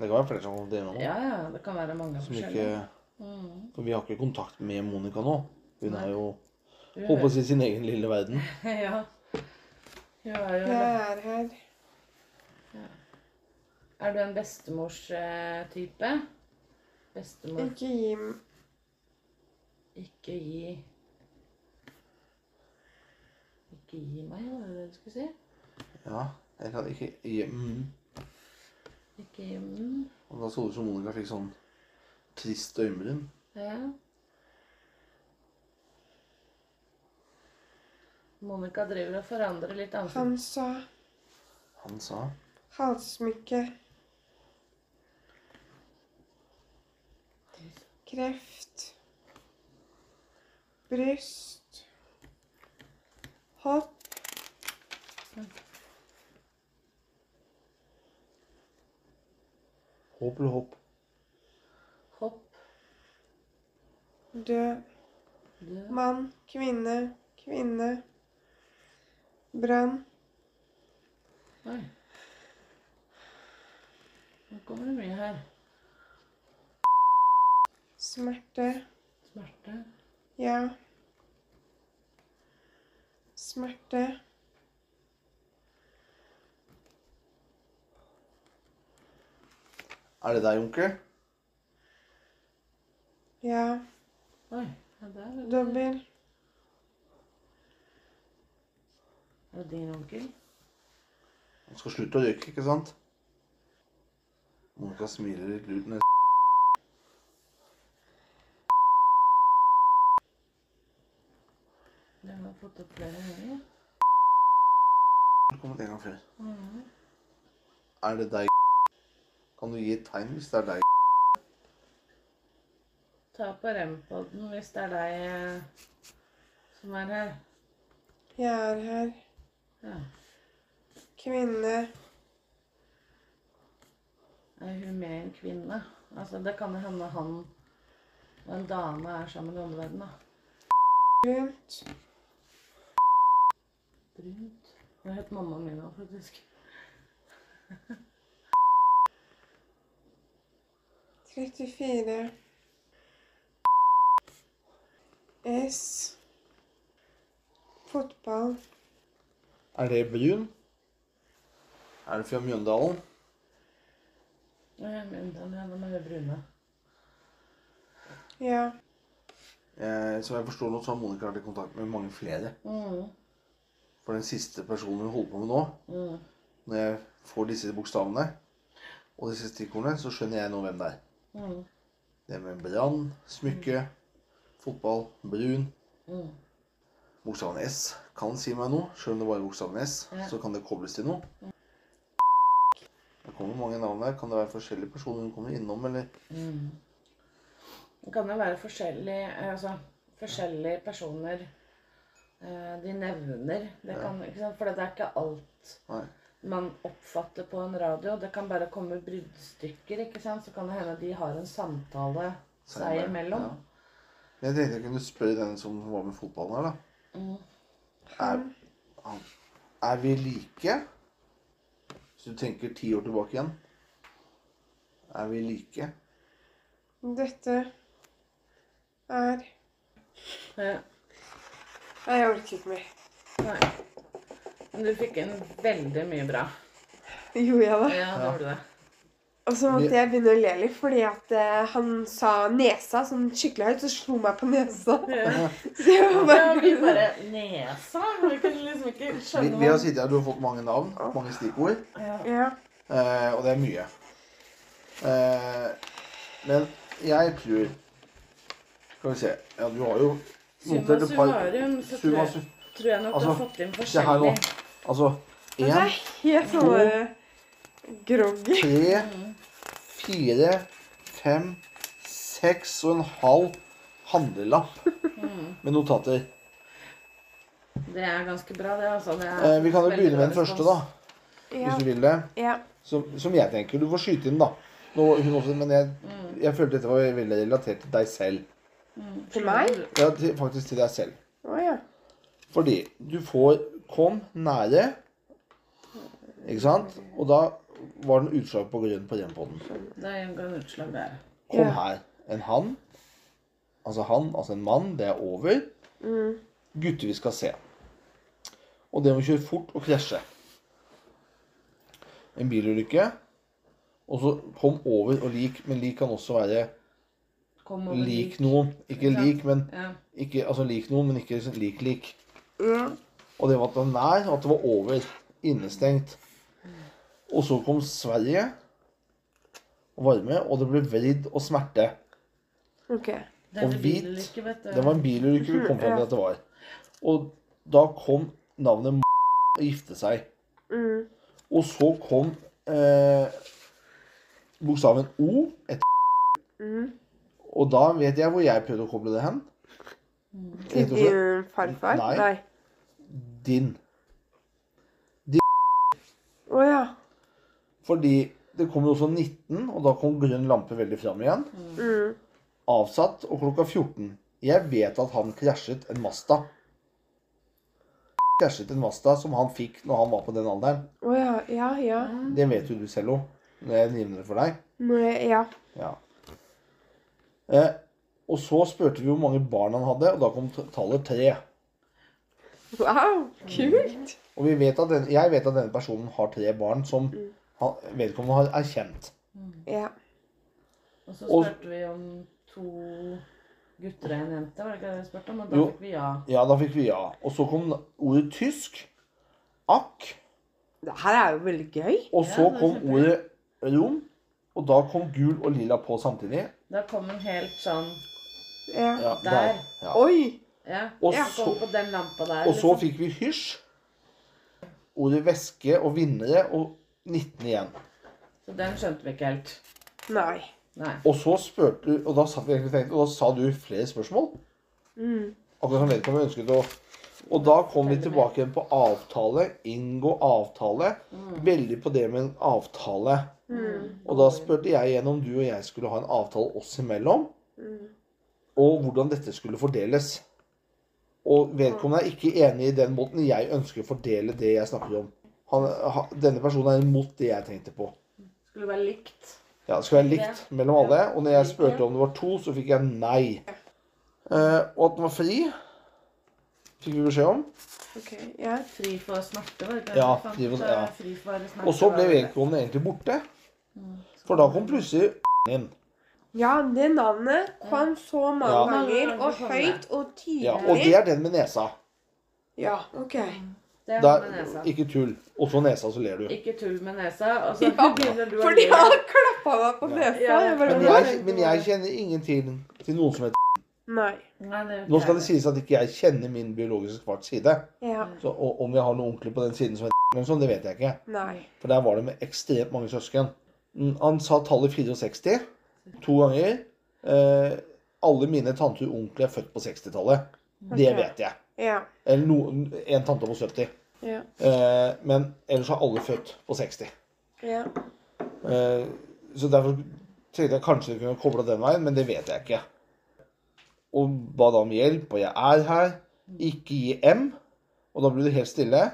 Det kan være flere som har kommet innom. ja, Det kan være mange Som forskjellige. ikke Mm. For vi har ikke kontakt med Monica nå. Hun Nei. er jo Du holdt på å si sin egen lille verden. hører- ja. Hun er jo Jeg er her. Er du en bestemors-type? Bestemor Ikke gi m- Ikke gi Ikke gi meg, var det det du skulle si? Ja, jeg kan ikke gi- mm. Ikke gi mm. Og da så det ut som Monica fikk sånn trist øyenbryn. Ja. Monica driver og forandrer litt ansikt. Han sa. Han sa Halssmykke. Kreft. Bryst. Hopp. håp eller håp. Hopp, Død. død, Mann. Kvinne. Kvinne. Brann. Oi. Nå kommer det mye her. Smerte. Smerte. Ja. Smerte. Er det deg, onkel? Ja. Oi. Ja, det er, Dobbel. er det din onkel? Han skal slutte å røyke, ikke sant? Monica smiler litt lurt. ned- Det har jeg fått opp flere ganger. Det har kommet en gang før. Mhm. Er det deg? Kan du gi et tegn hvis det er deg? Ta på rempodden hvis det er deg eh, som er her. Jeg er her. Ja. Kvinne. Er hun med en kvinne? Altså, det kan jo hende han og en dame er sammen i omverdenen, da. Brunt. Brunt. Det het mamma mi nå, faktisk. 34. S. Fotball. Er det brun? Er det fra Mjøndalen? Eh, Men den er den er jo brune. Ja. Eh, som jeg forstår nå, så har Monica vært i kontakt med mange flere. Mm. For den siste personen hun holder på med nå, Mm. når jeg får disse bokstavene og disse stikkordene, så skjønner jeg nå hvem det er. Mm. Det med brann, smykke, fotball, brun. Mm. Bokstaven S kan si meg noe, selv om det bare er bokstaven S. Ja. Så kan det kobles til noe. Det kommer mange navn her. Kan det være forskjellige personer hun kommer innom, eller Det kan jo være forskjellige, eh, altså, forskjellige personer eh, de nevner. Det Ja. kan, ikke sant? For det er ikke alt Nei. man oppfatter på en radio. Det kan bare komme bruddstykker, ikke sant? så kan det hende de har en samtale seg Seier, imellom. ja. Men Jeg tenkte jeg kunne spørre den som var med fotballen her, da. Mm. Er, han- er vi like? Hvis du tenker ti år tilbake igjen. Er vi like? Dette er Ja. Nei, jeg orker ikke mer. Nei. Men du fikk inn veldig mye bra. Gjorde jeg det? Ja, det gjorde du det. Og så måtte jeg begynne å le litt, fordi at eh, han sa nesa sånn skikkelig høyt, så slo meg på nesa. Ja. Så jeg var Ja, vi bare bare Nesa? Vi kunne liksom ikke Vi, skjønne vi har hva- sittet her, du har fått mange navn, mange stikkord. ja. Ja. Eh, og det er mye. Eh, men jeg tror Skal vi se. Ja, du har jo Summa et par- summarum, så tror Summa jeg, sum- tror jeg nok du har Altså, fått inn Se her nå. forskjellig. Altså Men det én, er helt sånn eh, bare groggy. tre, fire, fem, seks og en halv handlelapp Mm. med notater. Det er ganske bra, det. altså. Det er Eh, vi kan jo veldig begynne med bra den første, respons. da. Ja. Hvis du vil det. ja. Som, som jeg tenker. Du får skyte inn, da. Nå, hun også, men jeg, Mm. jeg følte dette var veldig relatert til deg selv. Til meg? Ja, til, faktisk til deg selv. Å ja. Fordi du får Kom nære. Ikke sant? Og da var den utslag på grønn på den podden. Det ga en utslag der. Kom Ja. her. En han. Altså han, altså en mann. Det er over. Gutter vi skal se. Og det må kjøre fort og krasje. En bilulykke. Og så kom over og lik, men lik kan også være Kom over lik noen. Ikke Ja. lik, men Ja. ikke, altså lik noen, men ikke lik lik. Og det var at det var nær, og at det var over. Innestengt. Og så kom Sverige og varme, og det ble vridd og smerte. Ok. Det er Og en hvit. bilulykke, vet du. Det var en bilulykke vi kom frem til at det var. Og da kom navnet og gifte seg. Mm. Og så kom eh, bokstaven O etter Mm. Og da vet jeg hvor jeg prøvde å koble det hen. Til Rett og din slett farfar? Nei. Nei. din. Å ja. Fordi det kom jo også 19, og da kom grønn lampe veldig fram igjen. Mm. Avsatt og klokka 14. Jeg vet at han krasjet en Masta. Krasjet en Masta som han fikk når han var på den alderen. Å ja. Ja, ja. Det vet jo du selv òg. Når jeg nevner det for deg. Må jeg Ja. Ja. Eh, og så spurte vi hvor mange barn han hadde, og da kom t- tallet tre. Wow, kult! Og vi vet at den, jeg vet at denne personen har tre barn som Mm. han, vedkommende har erkjent. Ja. Og så Og- spurte vi om to gutter og en jente, var det ikke det vi spurte om? Og da Jo. fikk vi ja. Ja, da fikk vi ja. Og så kom ordet tysk. Akk. Det her er jo veldig gøy. Og Ja, så det er kom kjempegøy. ordet rom. Og da kom gul og lilla på samtidig. Da kom en helt sånn Ja. Ja, Der. Ja. Oi! Ja. Og ja, så- kom på den lampa der. Og så liksom. fikk vi hysj. Ordet væske og vinnere og 19 igjen. så den skjønte vi ikke helt. Nei. Nei. Og så spurte du, og da satt vi egentlig og tenkte, og da sa du flere spørsmål. Mm. Akkurat som vedkommende ønsket å Og da kom vi tilbake igjen på avtale. Inngå avtale. Veldig på det med en avtale. Mm. Og da spurte jeg igjen om du og jeg skulle ha en avtale oss imellom. Og hvordan dette skulle fordeles. Og vedkommende er ikke enig i den måten jeg ønsker å fordele det jeg snakker om. Han, ha- denne personen er imot det jeg tenkte på. Skulle være likt. Ja, det skulle være likt mellom alle. Og når jeg spurte om det var to, så fikk jeg nei. Eh, og at den var fri, fikk vi beskjed om. Ok, ja. Fri for smerte, var det ikke? Ja, det? fri for- Så ja. fri for smerte. Og så ble var det. Mm. vedkommende egentlig borte. For da kom plutselig inn. Ja, det navnet kom så mange Ja. ganger, og høyt og Ja, og det tydelig. er den med nesa. Ja, ok. Det var med Der, nesa. ikke tull. Og så nesa, så ler du. Ikke tull med nesa. Og så Ja, begynner du å Fordi le. han klappa meg på nesa. Ja. Jeg Men bare, jeg, men jeg kjenner ingen til, til noen som heter Nei. Nei, det Nå skal det sies at ikke jeg kjenner min biologiske fars side. Ja. Så, og om jeg har noen onkler på den siden som er eller sånn, det vet jeg ikke. Nei. For der var det med ekstremt mange søsken. Mm, Han sa tallet 64 to ganger. Eh, alle mine tanter og onkler er født på 60-tallet. Det Ok. vet jeg. Ja. Eller noen, en tante på 70. Ja. Eh, men ellers er alle født på 60. Ja. Eh, så derfor tenkte jeg kanskje det kunne koble den veien, men det vet jeg ikke. Og ba da om hjelp, og jeg er her. Ikke gi M. Og da ble det helt stille.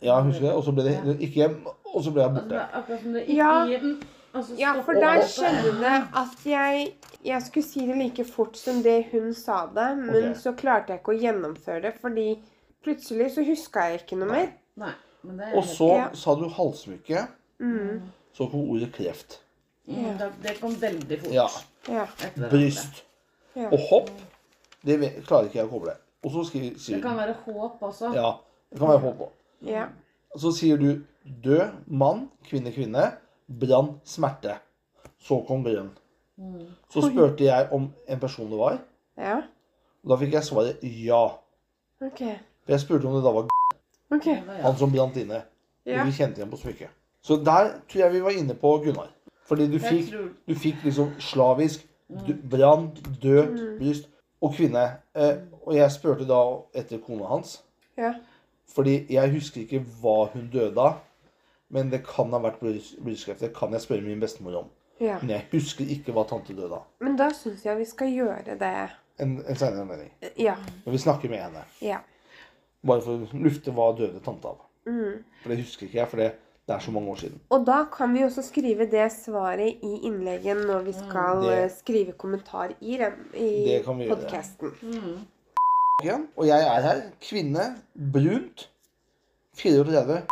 Ja, husker jeg. Og så ble det ikke hjem, og så ble jeg Altså, det borte. er akkurat som det ikke Ja. gir den. og så ja, for stopper der det. skjønner jeg at jeg Jeg skulle si det like fort som det hun sa det, men Ok. så klarte jeg ikke å gjennomføre det, fordi plutselig så huska jeg ikke noe mer. Nei, men det er Og så Ja. sa du halssmykke. Mm. Så kom ordet kreft. Mm, da- Det kom veldig fort. Ja. Ja. etter hverandre. Bryst. Ja. Og hopp. Det ve- klarer ikke jeg å koble. Og så skriver Det sier kan du være håp også. Ja. Det kan være hopp òg. Ja. Så sier du død, mann, kvinne, kvinne, brann, smerte. Så kom grønn. Mm. Så spurte jeg om en person det var, Ja. og da fikk jeg svaret ja. OK. For jeg spurte om det da var OK. Det var, ja. han som brant inne. Ja. Og vi kjente igjen på smykket. Så der tror jeg vi var inne på Gunnar. Fordi du Jeg fikk, tror du fikk liksom slavisk du, brann, død, Mm. bryst og kvinne. Eh, og jeg spurte da etter kona hans. Ja. Fordi jeg husker ikke hva hun døde av. Men det kan ha vært bryst- brystkreft. Det kan jeg spørre min bestemor om. ja. Men jeg husker ikke hva tante døde av. Men da syns jeg vi skal gjøre det. En, en senere anledning. Ja. Men vi snakker med henne. Ja. Bare for å lufte hva døde tante av. Mm. For det husker ikke jeg, for det, det er så mange år siden. Og da kan vi også skrive det svaret i innlegget når vi Mm. skal Det- eh, skrive kommentar i, rem- i Det kan vi gjøre. podkasten. mm. igjen, og jeg er her. Kvinne, brunt, 34.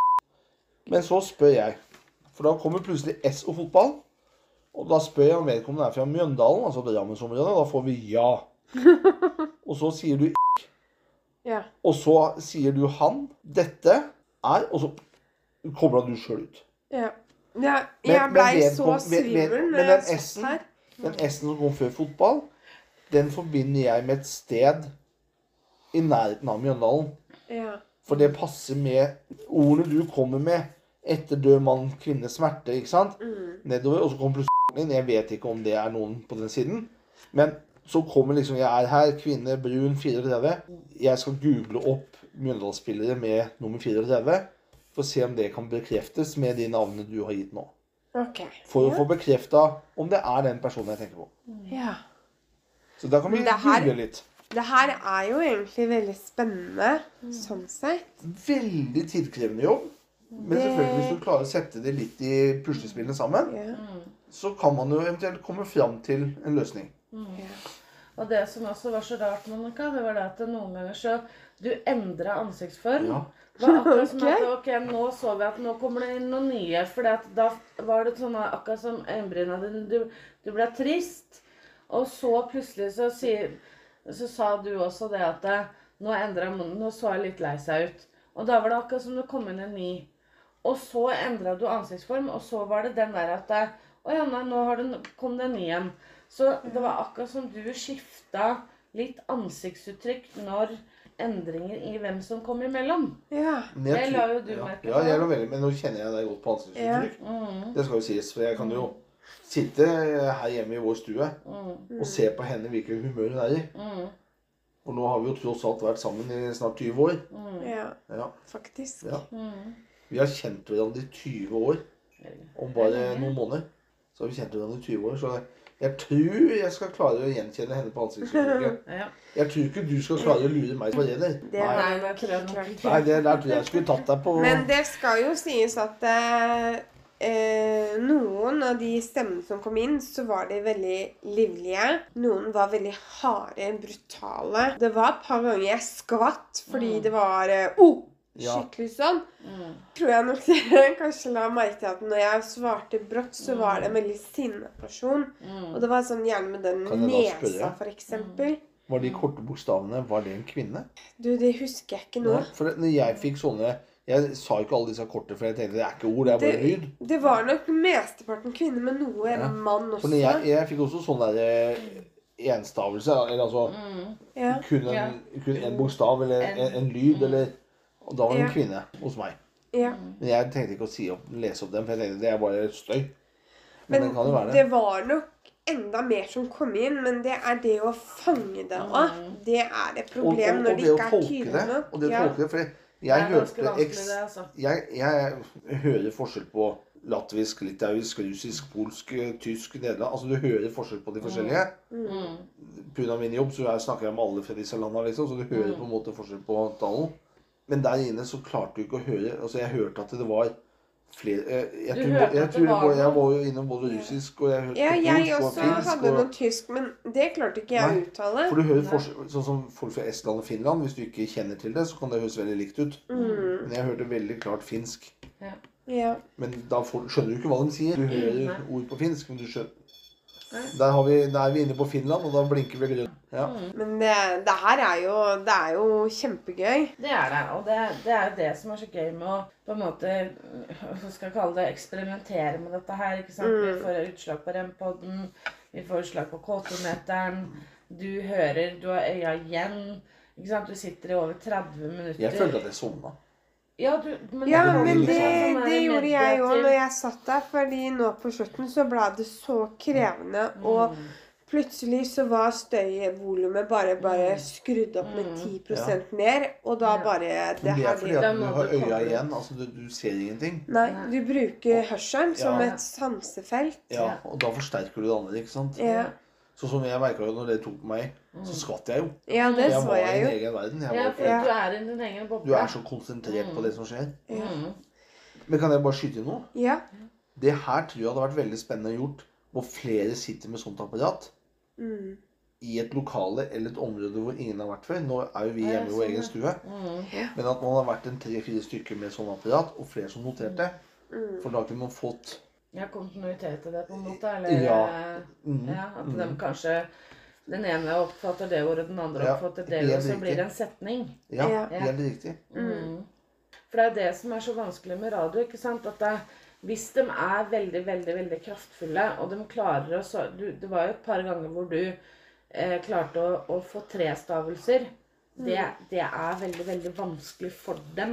Men så spør jeg, for da kommer plutselig S og fotball. Og da spør jeg om vedkommende er fra Mjøndalen, altså Drammensområdet. og Da får vi ja. Og så sier du Ja. Og så sier du han. Dette er Og så kobla du sjøl ut. ja. ja Men- jeg men blei ved- så ved- ved- svimmel men når den jeg satt S-en? her. Den S-en som kom før fotball, den forbinder jeg med et sted i nærheten av Mjøndalen. Ja. For det passer med ordene du kommer med etter død mann, kvinne, smerte, ikke sant? Mm. Nedover, og så kommer plutselig inn. Jeg vet ikke om det er noen på den siden. Men så kommer liksom Jeg er her, kvinne, brun, 34. Jeg skal google opp Mjøndalsspillere med nummer 34. For å se om det kan bekreftes med de navnene du har gitt nå. Ok. For å ja. få bekrefta om det er den personen jeg tenker på. ja. Så da kan vi Men det her- google litt. Det her er jo egentlig veldig spennende sånn sett. Veldig tidkrevende jobb. Men Det- selvfølgelig hvis du klarer å sette det litt i puslespillene sammen, Ja. så kan man jo eventuelt komme fram til en løsning. Og det som også var så rart, Monica, det var det at noen ganger så Du endra ansiktsform. Ja. Det var akkurat som Ok. at ok, nå så vi at nå kommer det inn noen nye. For da var det sånn at akkurat som øyenbryna dine. Du, du ble trist. Og så plutselig så, sier, så sa du også det at eh, nå endra munnen. Nå så jeg litt lei seg ut. Og da var det akkurat som det kom inn en ny. Og så endra du ansiktsform, og så var det den der at eh, Å ja, nei, nå har den, kom det en ny igjen. Så det var akkurat som du skifta litt ansiktsuttrykk når endringer i hvem som kom imellom. Ja. Men Det la jo du ja, merke Ja, til. jeg la veldig, men nå kjenner jeg deg godt på ansiktsuttrykk. Mm, Det skal jo sies, for jeg kan jo sitte her hjemme i vår stue mm, og se på henne hvilket humør hun er i. mm, Og nå har vi jo tross alt vært sammen i snart 20 år. mm, ja. Ja, Faktisk. ja. mm. Vi har kjent hverandre i 20 år. Om bare noen måneder. Så har vi kjent hverandre i 20 år. Så jeg tror jeg skal klare å gjenkjenne henne på ansiktsuttrykket. Ja. Jeg tror ikke du skal klare å lure meg på det. eller? Det Nei. var Nei, nok det tror jeg helt nok klart. Nei, det der tror jeg jeg skulle tatt deg på Men det skal jo sies at eh, eh, noen av de stemmene som kom inn, så var de veldig livlige. Noen var veldig harde, brutale. Det var et par ganger jeg skvatt fordi Mm. det var eh, oh, Ja. skikkelig sånn. Mm, Tror jeg nok dere kanskje la merke til at når jeg svarte brått, så var det en veldig sinna person. Og mm. det var sånn gjerne med den Kan jeg da nesa, spørre? for eksempel. Var de korte bokstavene Var det en kvinne? Du, det husker jeg ikke nå. For når jeg fikk sånne Jeg sa ikke alle disse korte, for jeg tenkte det er ikke ord, det er bare Det- lyd. Det var nok mesteparten kvinner, men noe Ja. mann For når jeg, også. jeg fikk også sånn derre enstavelse. Eller altså Mm. Ja. Mm. kun en, Ja. kun en bokstav eller En. en, en lyd. Eller, og da var det Ja. en kvinne hos meg. ja. Men jeg tenkte ikke å si opp, lese opp den, for jeg tenkte det er bare støy. Men, Men den kan jo det være det. var nok enda mer som kom inn, men det er det å fange det òg. Det er et Og, og, problem og når det det å ikke er tolke tydelig det. nok. Og det å Ja. tolke det, for Det jeg er ganske hørte vanskelig, eks- det, altså. jeg, jeg hører forskjell på latvisk, litauisk, russisk, polsk, tysk, nederland. Altså, du hører forskjell på de forskjellige. Mm. Pga. min jobb så jeg snakker jeg med alle fra disse landene, liksom, så du hører på en måte forskjell på tallene. Men der inne så klarte du ikke å høre altså Jeg hørte at det var flere Jeg, jeg, Du tror, hørte jeg, at det tror var var, jeg var jo innom både russisk og jeg hørte Ja, jeg polsk og også finsk, hadde og- noe tysk, men det klarte ikke jeg å Nei, uttale. For du hører forskjell, Sånn som folk fra Estland og Finland, hvis du ikke kjenner til det, så kan det høres veldig likt ut. Mm. Men jeg hørte veldig klart finsk. Ja. Ja. Men da får, skjønner du ikke hva de sier. Du hører Nei. ord på finsk, men du skjønner Nei. der, har vi, der er vi inne på Finland, og da blinker vi grønt. Ja. Men det, det her er jo, det er jo kjempegøy. Det er det, og det, det er jo det som er så gøy med å på en måte, hva skal jeg kalle det, eksperimentere med dette her, ikke sant? Vi får utslag på rempodden, vi får utslag på kåtometeren, du hører, du har øya igjen, ikke sant? Du sitter i over 30 minutter. Jeg følte at jeg sovna. Ja, du, men, Ja, det var men litt det, sånn det gjorde jeg òg når jeg satt der, fordi nå på slutten så ble det så krevende. Mm. Og plutselig så var støyvolumet bare, bare skrudd opp med 10 ned, og da bare Men Det det er her fordi blir at Da du må har du øya koble. igjen. Altså, du, du ser ingenting. Nei, du bruker hørselen som Ja. et sansefelt. Ja, Ja. Og da forsterker du det andre, ikke sant. Ja, Sånn som jeg merka jo når det tok meg, så skvatt jeg jo. ja det Jeg så var i jeg jo. min egen verden. Jeg Ja, var for ikke, Ja. du er i din egen boble. du er så konsentrert på det som skjer. Mm. Men kan jeg bare skyte inn noe? Ja. Det her tror jeg hadde vært veldig spennende gjort hvor flere sitter med sånt apparat. Mm. i et lokale eller et område hvor ingen har vært før. Nå er jo vi Ja, hjemme i vår sånn, ja. egen stue. Mm. Men at man har vært en tre-fire stykker med sånn apparat, og flere som noterte. mm, For da kunne man fått Ja, kontinuitet i det på en måte, eller? Ja. mm, Ja, at de kanskje den ene oppfatter det ordet, den andre Ja, oppfatter det helt ordet, så riktig. blir det en setning. Mm. Ja, Ja. helt riktig. For det er det som er så vanskelig med radio, ikke sant? At det, hvis de er veldig, veldig, veldig kraftfulle, og de klarer å så du, Det var jo et par ganger hvor du eh, klarte å, å få tre stavelser. Det, det er veldig, veldig vanskelig for dem.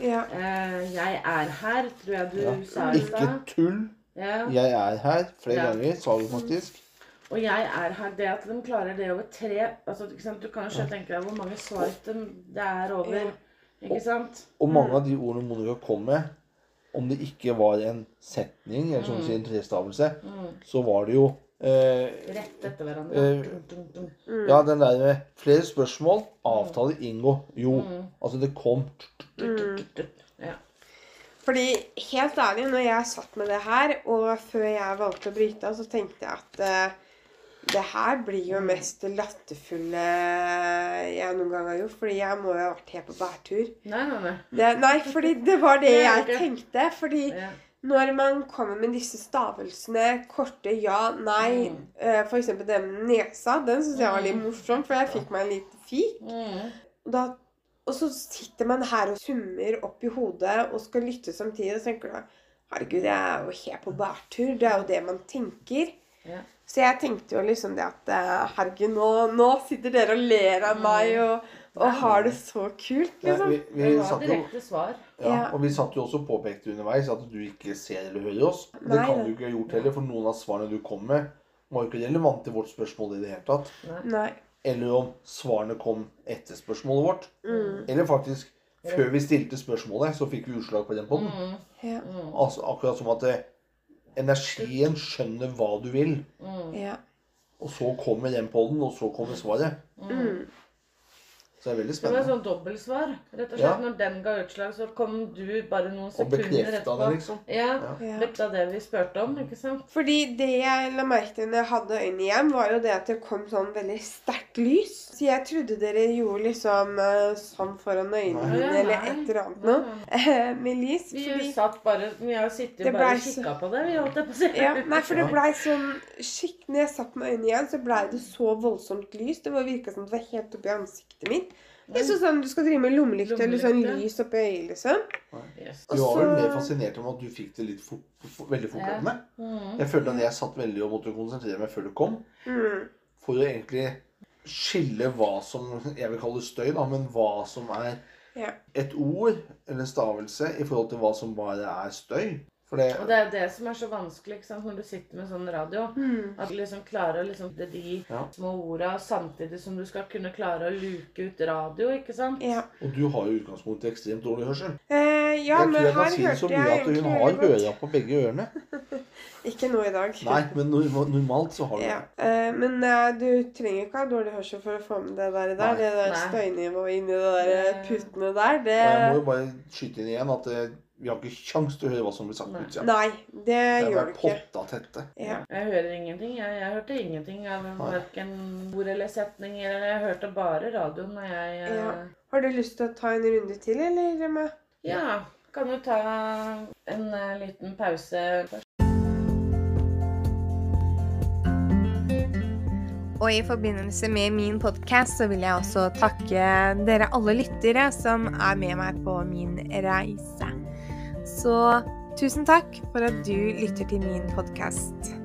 ja. Eh, 'Jeg er her', tror jeg du Ja. sa i Ikke stad. tull. Ja. Jeg er her flere Ja. ganger, sa hun faktisk. Og jeg er her. Det at de klarer det over tre altså, ikke sant? Du kan jo selv tenke deg hvor mange swipe de- det er over. Ikke sant? Og mange av de ordene Monica kom med, om det ikke var en setning, eller sånn som Mm. du sier, en trestavelse, så var det jo eh, Rett etter hverandre. Eh, Dun, dun, dun. Ja, den der med flere spørsmål, Mm. avtale, inngå, jo. Altså, det kom Mm. Ja. Fordi helt ærlig, når jeg satt med det her, og før jeg valgte å bryte av, så tenkte jeg at eh, det her blir jo mest det latterfulle jeg noen gang har gjort. Fordi jeg må jo ha vært helt på bærtur. Nei, nei, nei. Det, nei, fordi det var det Det er jeg tenkte. Fordi Ja. når man kommer med disse stavelsene, korte ja, nei, Mm. eh, for f.eks. den med nesa, den syns jeg var litt morsom, for jeg fikk meg en liten fik. Mm. Og da, og så sitter man her og summer opp i hodet og skal lytte samtidig, og så tenker du Herregud, jeg er jo helt på bærtur. Det er jo det man tenker. Ja. Så jeg tenkte jo liksom det at eh, Herregud, nå, nå sitter dere og ler av meg Mm. og, og har det så kult, Nei, liksom. vi, vi Det var satt jo, direkte svar. ja, Ja. og vi satt jo også og påpekte underveis at du ikke ser eller hører oss. Det Nei, kan det- du ikke ha gjort heller, for noen av svarene du kom med, var jo ikke relevant til vårt spørsmål i det hele tatt. Nei. Eller om svarene kom etter spørsmålet vårt. Mm. Eller faktisk før vi stilte spørsmålet, så fikk vi utslag på den poden. Ja. Mm. Altså, akkurat som at eh, energien skjønner hva du vil, ja. og så kommer den poden, og så kommer svaret. Mm. Mm. Så det er veldig Det var et spennende. sånn dobbeltsvar. Rett og slett. Ja. Når den ga utslag, så kom du bare noen Og sekunder bekrefta det, etterpå. liksom. Ja. Ja. Bekrefta det vi spurte om, ikke sant? Fordi det jeg la merke til når jeg hadde øynene igjen, var jo det at det kom sånn veldig sterkt lys. Så jeg trodde dere gjorde liksom eh, sånn foran øynene Nei. mine eller Nei. et eller annet noe eh, med lys. Vi sånn. Fordi, satt bare Vi har sittet Det bare ble og så- kikka på det, vi, holdt jeg på å si. ja, nei, for det blei sånn skikk, Når jeg satt med øynene igjen, så blei det så voldsomt lys. Det var- virka som det var helt oppi ansiktet mitt. Det er sånn som du skal drive med lommelykt eller sånn Lommelykte. lys oppi øyet, liksom. Yes. Du var vel Og så- mer fascinert om at du fikk det litt fort, fort- veldig fort Ja. med. Jeg følte at jeg satt veldig og måtte konsentrere meg før det kom. Mm. for å egentlig skille hva som Jeg vil kalle det støy, da, men hva som er Ja. et ord eller en stavelse i forhold til hva som bare er støy. For Og det det er jo det som er så vanskelig ikke sant, når du sitter med sånn radio. Mm. At du liksom klarer å liksom det de ja. små orda samtidig som du skal kunne klare å luke ut radio, ikke sant? ja. Og du har jo i utgangspunktet ekstremt dårlig hørsel. Eh, ja, jeg men tror jeg her kan si det så hørte mye jeg at hun egentlig har veldig godt. øra på begge ørene. Ikke nå i dag. Nei, men norma- normalt så har du det. Ja. Eh, men eh, du trenger ikke ha dårlig hørsel for å få med det der. i dag. Nei. Det der Nei. støynivået inni det der eh, Det- putene der, det Og jeg må jo bare skyte inn igjen at eh, vi har ikke kjangs til å høre hva som blir sagt på Nei. utsida. Nei, det Det er gjør bare du ikke. potta tette. Ja. Jeg hører ingenting. Jeg, jeg hørte ingenting av verken ord eller setninger. eller Jeg hørte bare radioen når jeg eh, Ja. Har du lyst til å ta en runde til, eller? Emma? Ja, kan du ta en eh, liten pause først? Og i forbindelse med min podkast så vil jeg også takke dere alle lyttere som er med meg på min reise. Så tusen takk for at du lytter til min podkast.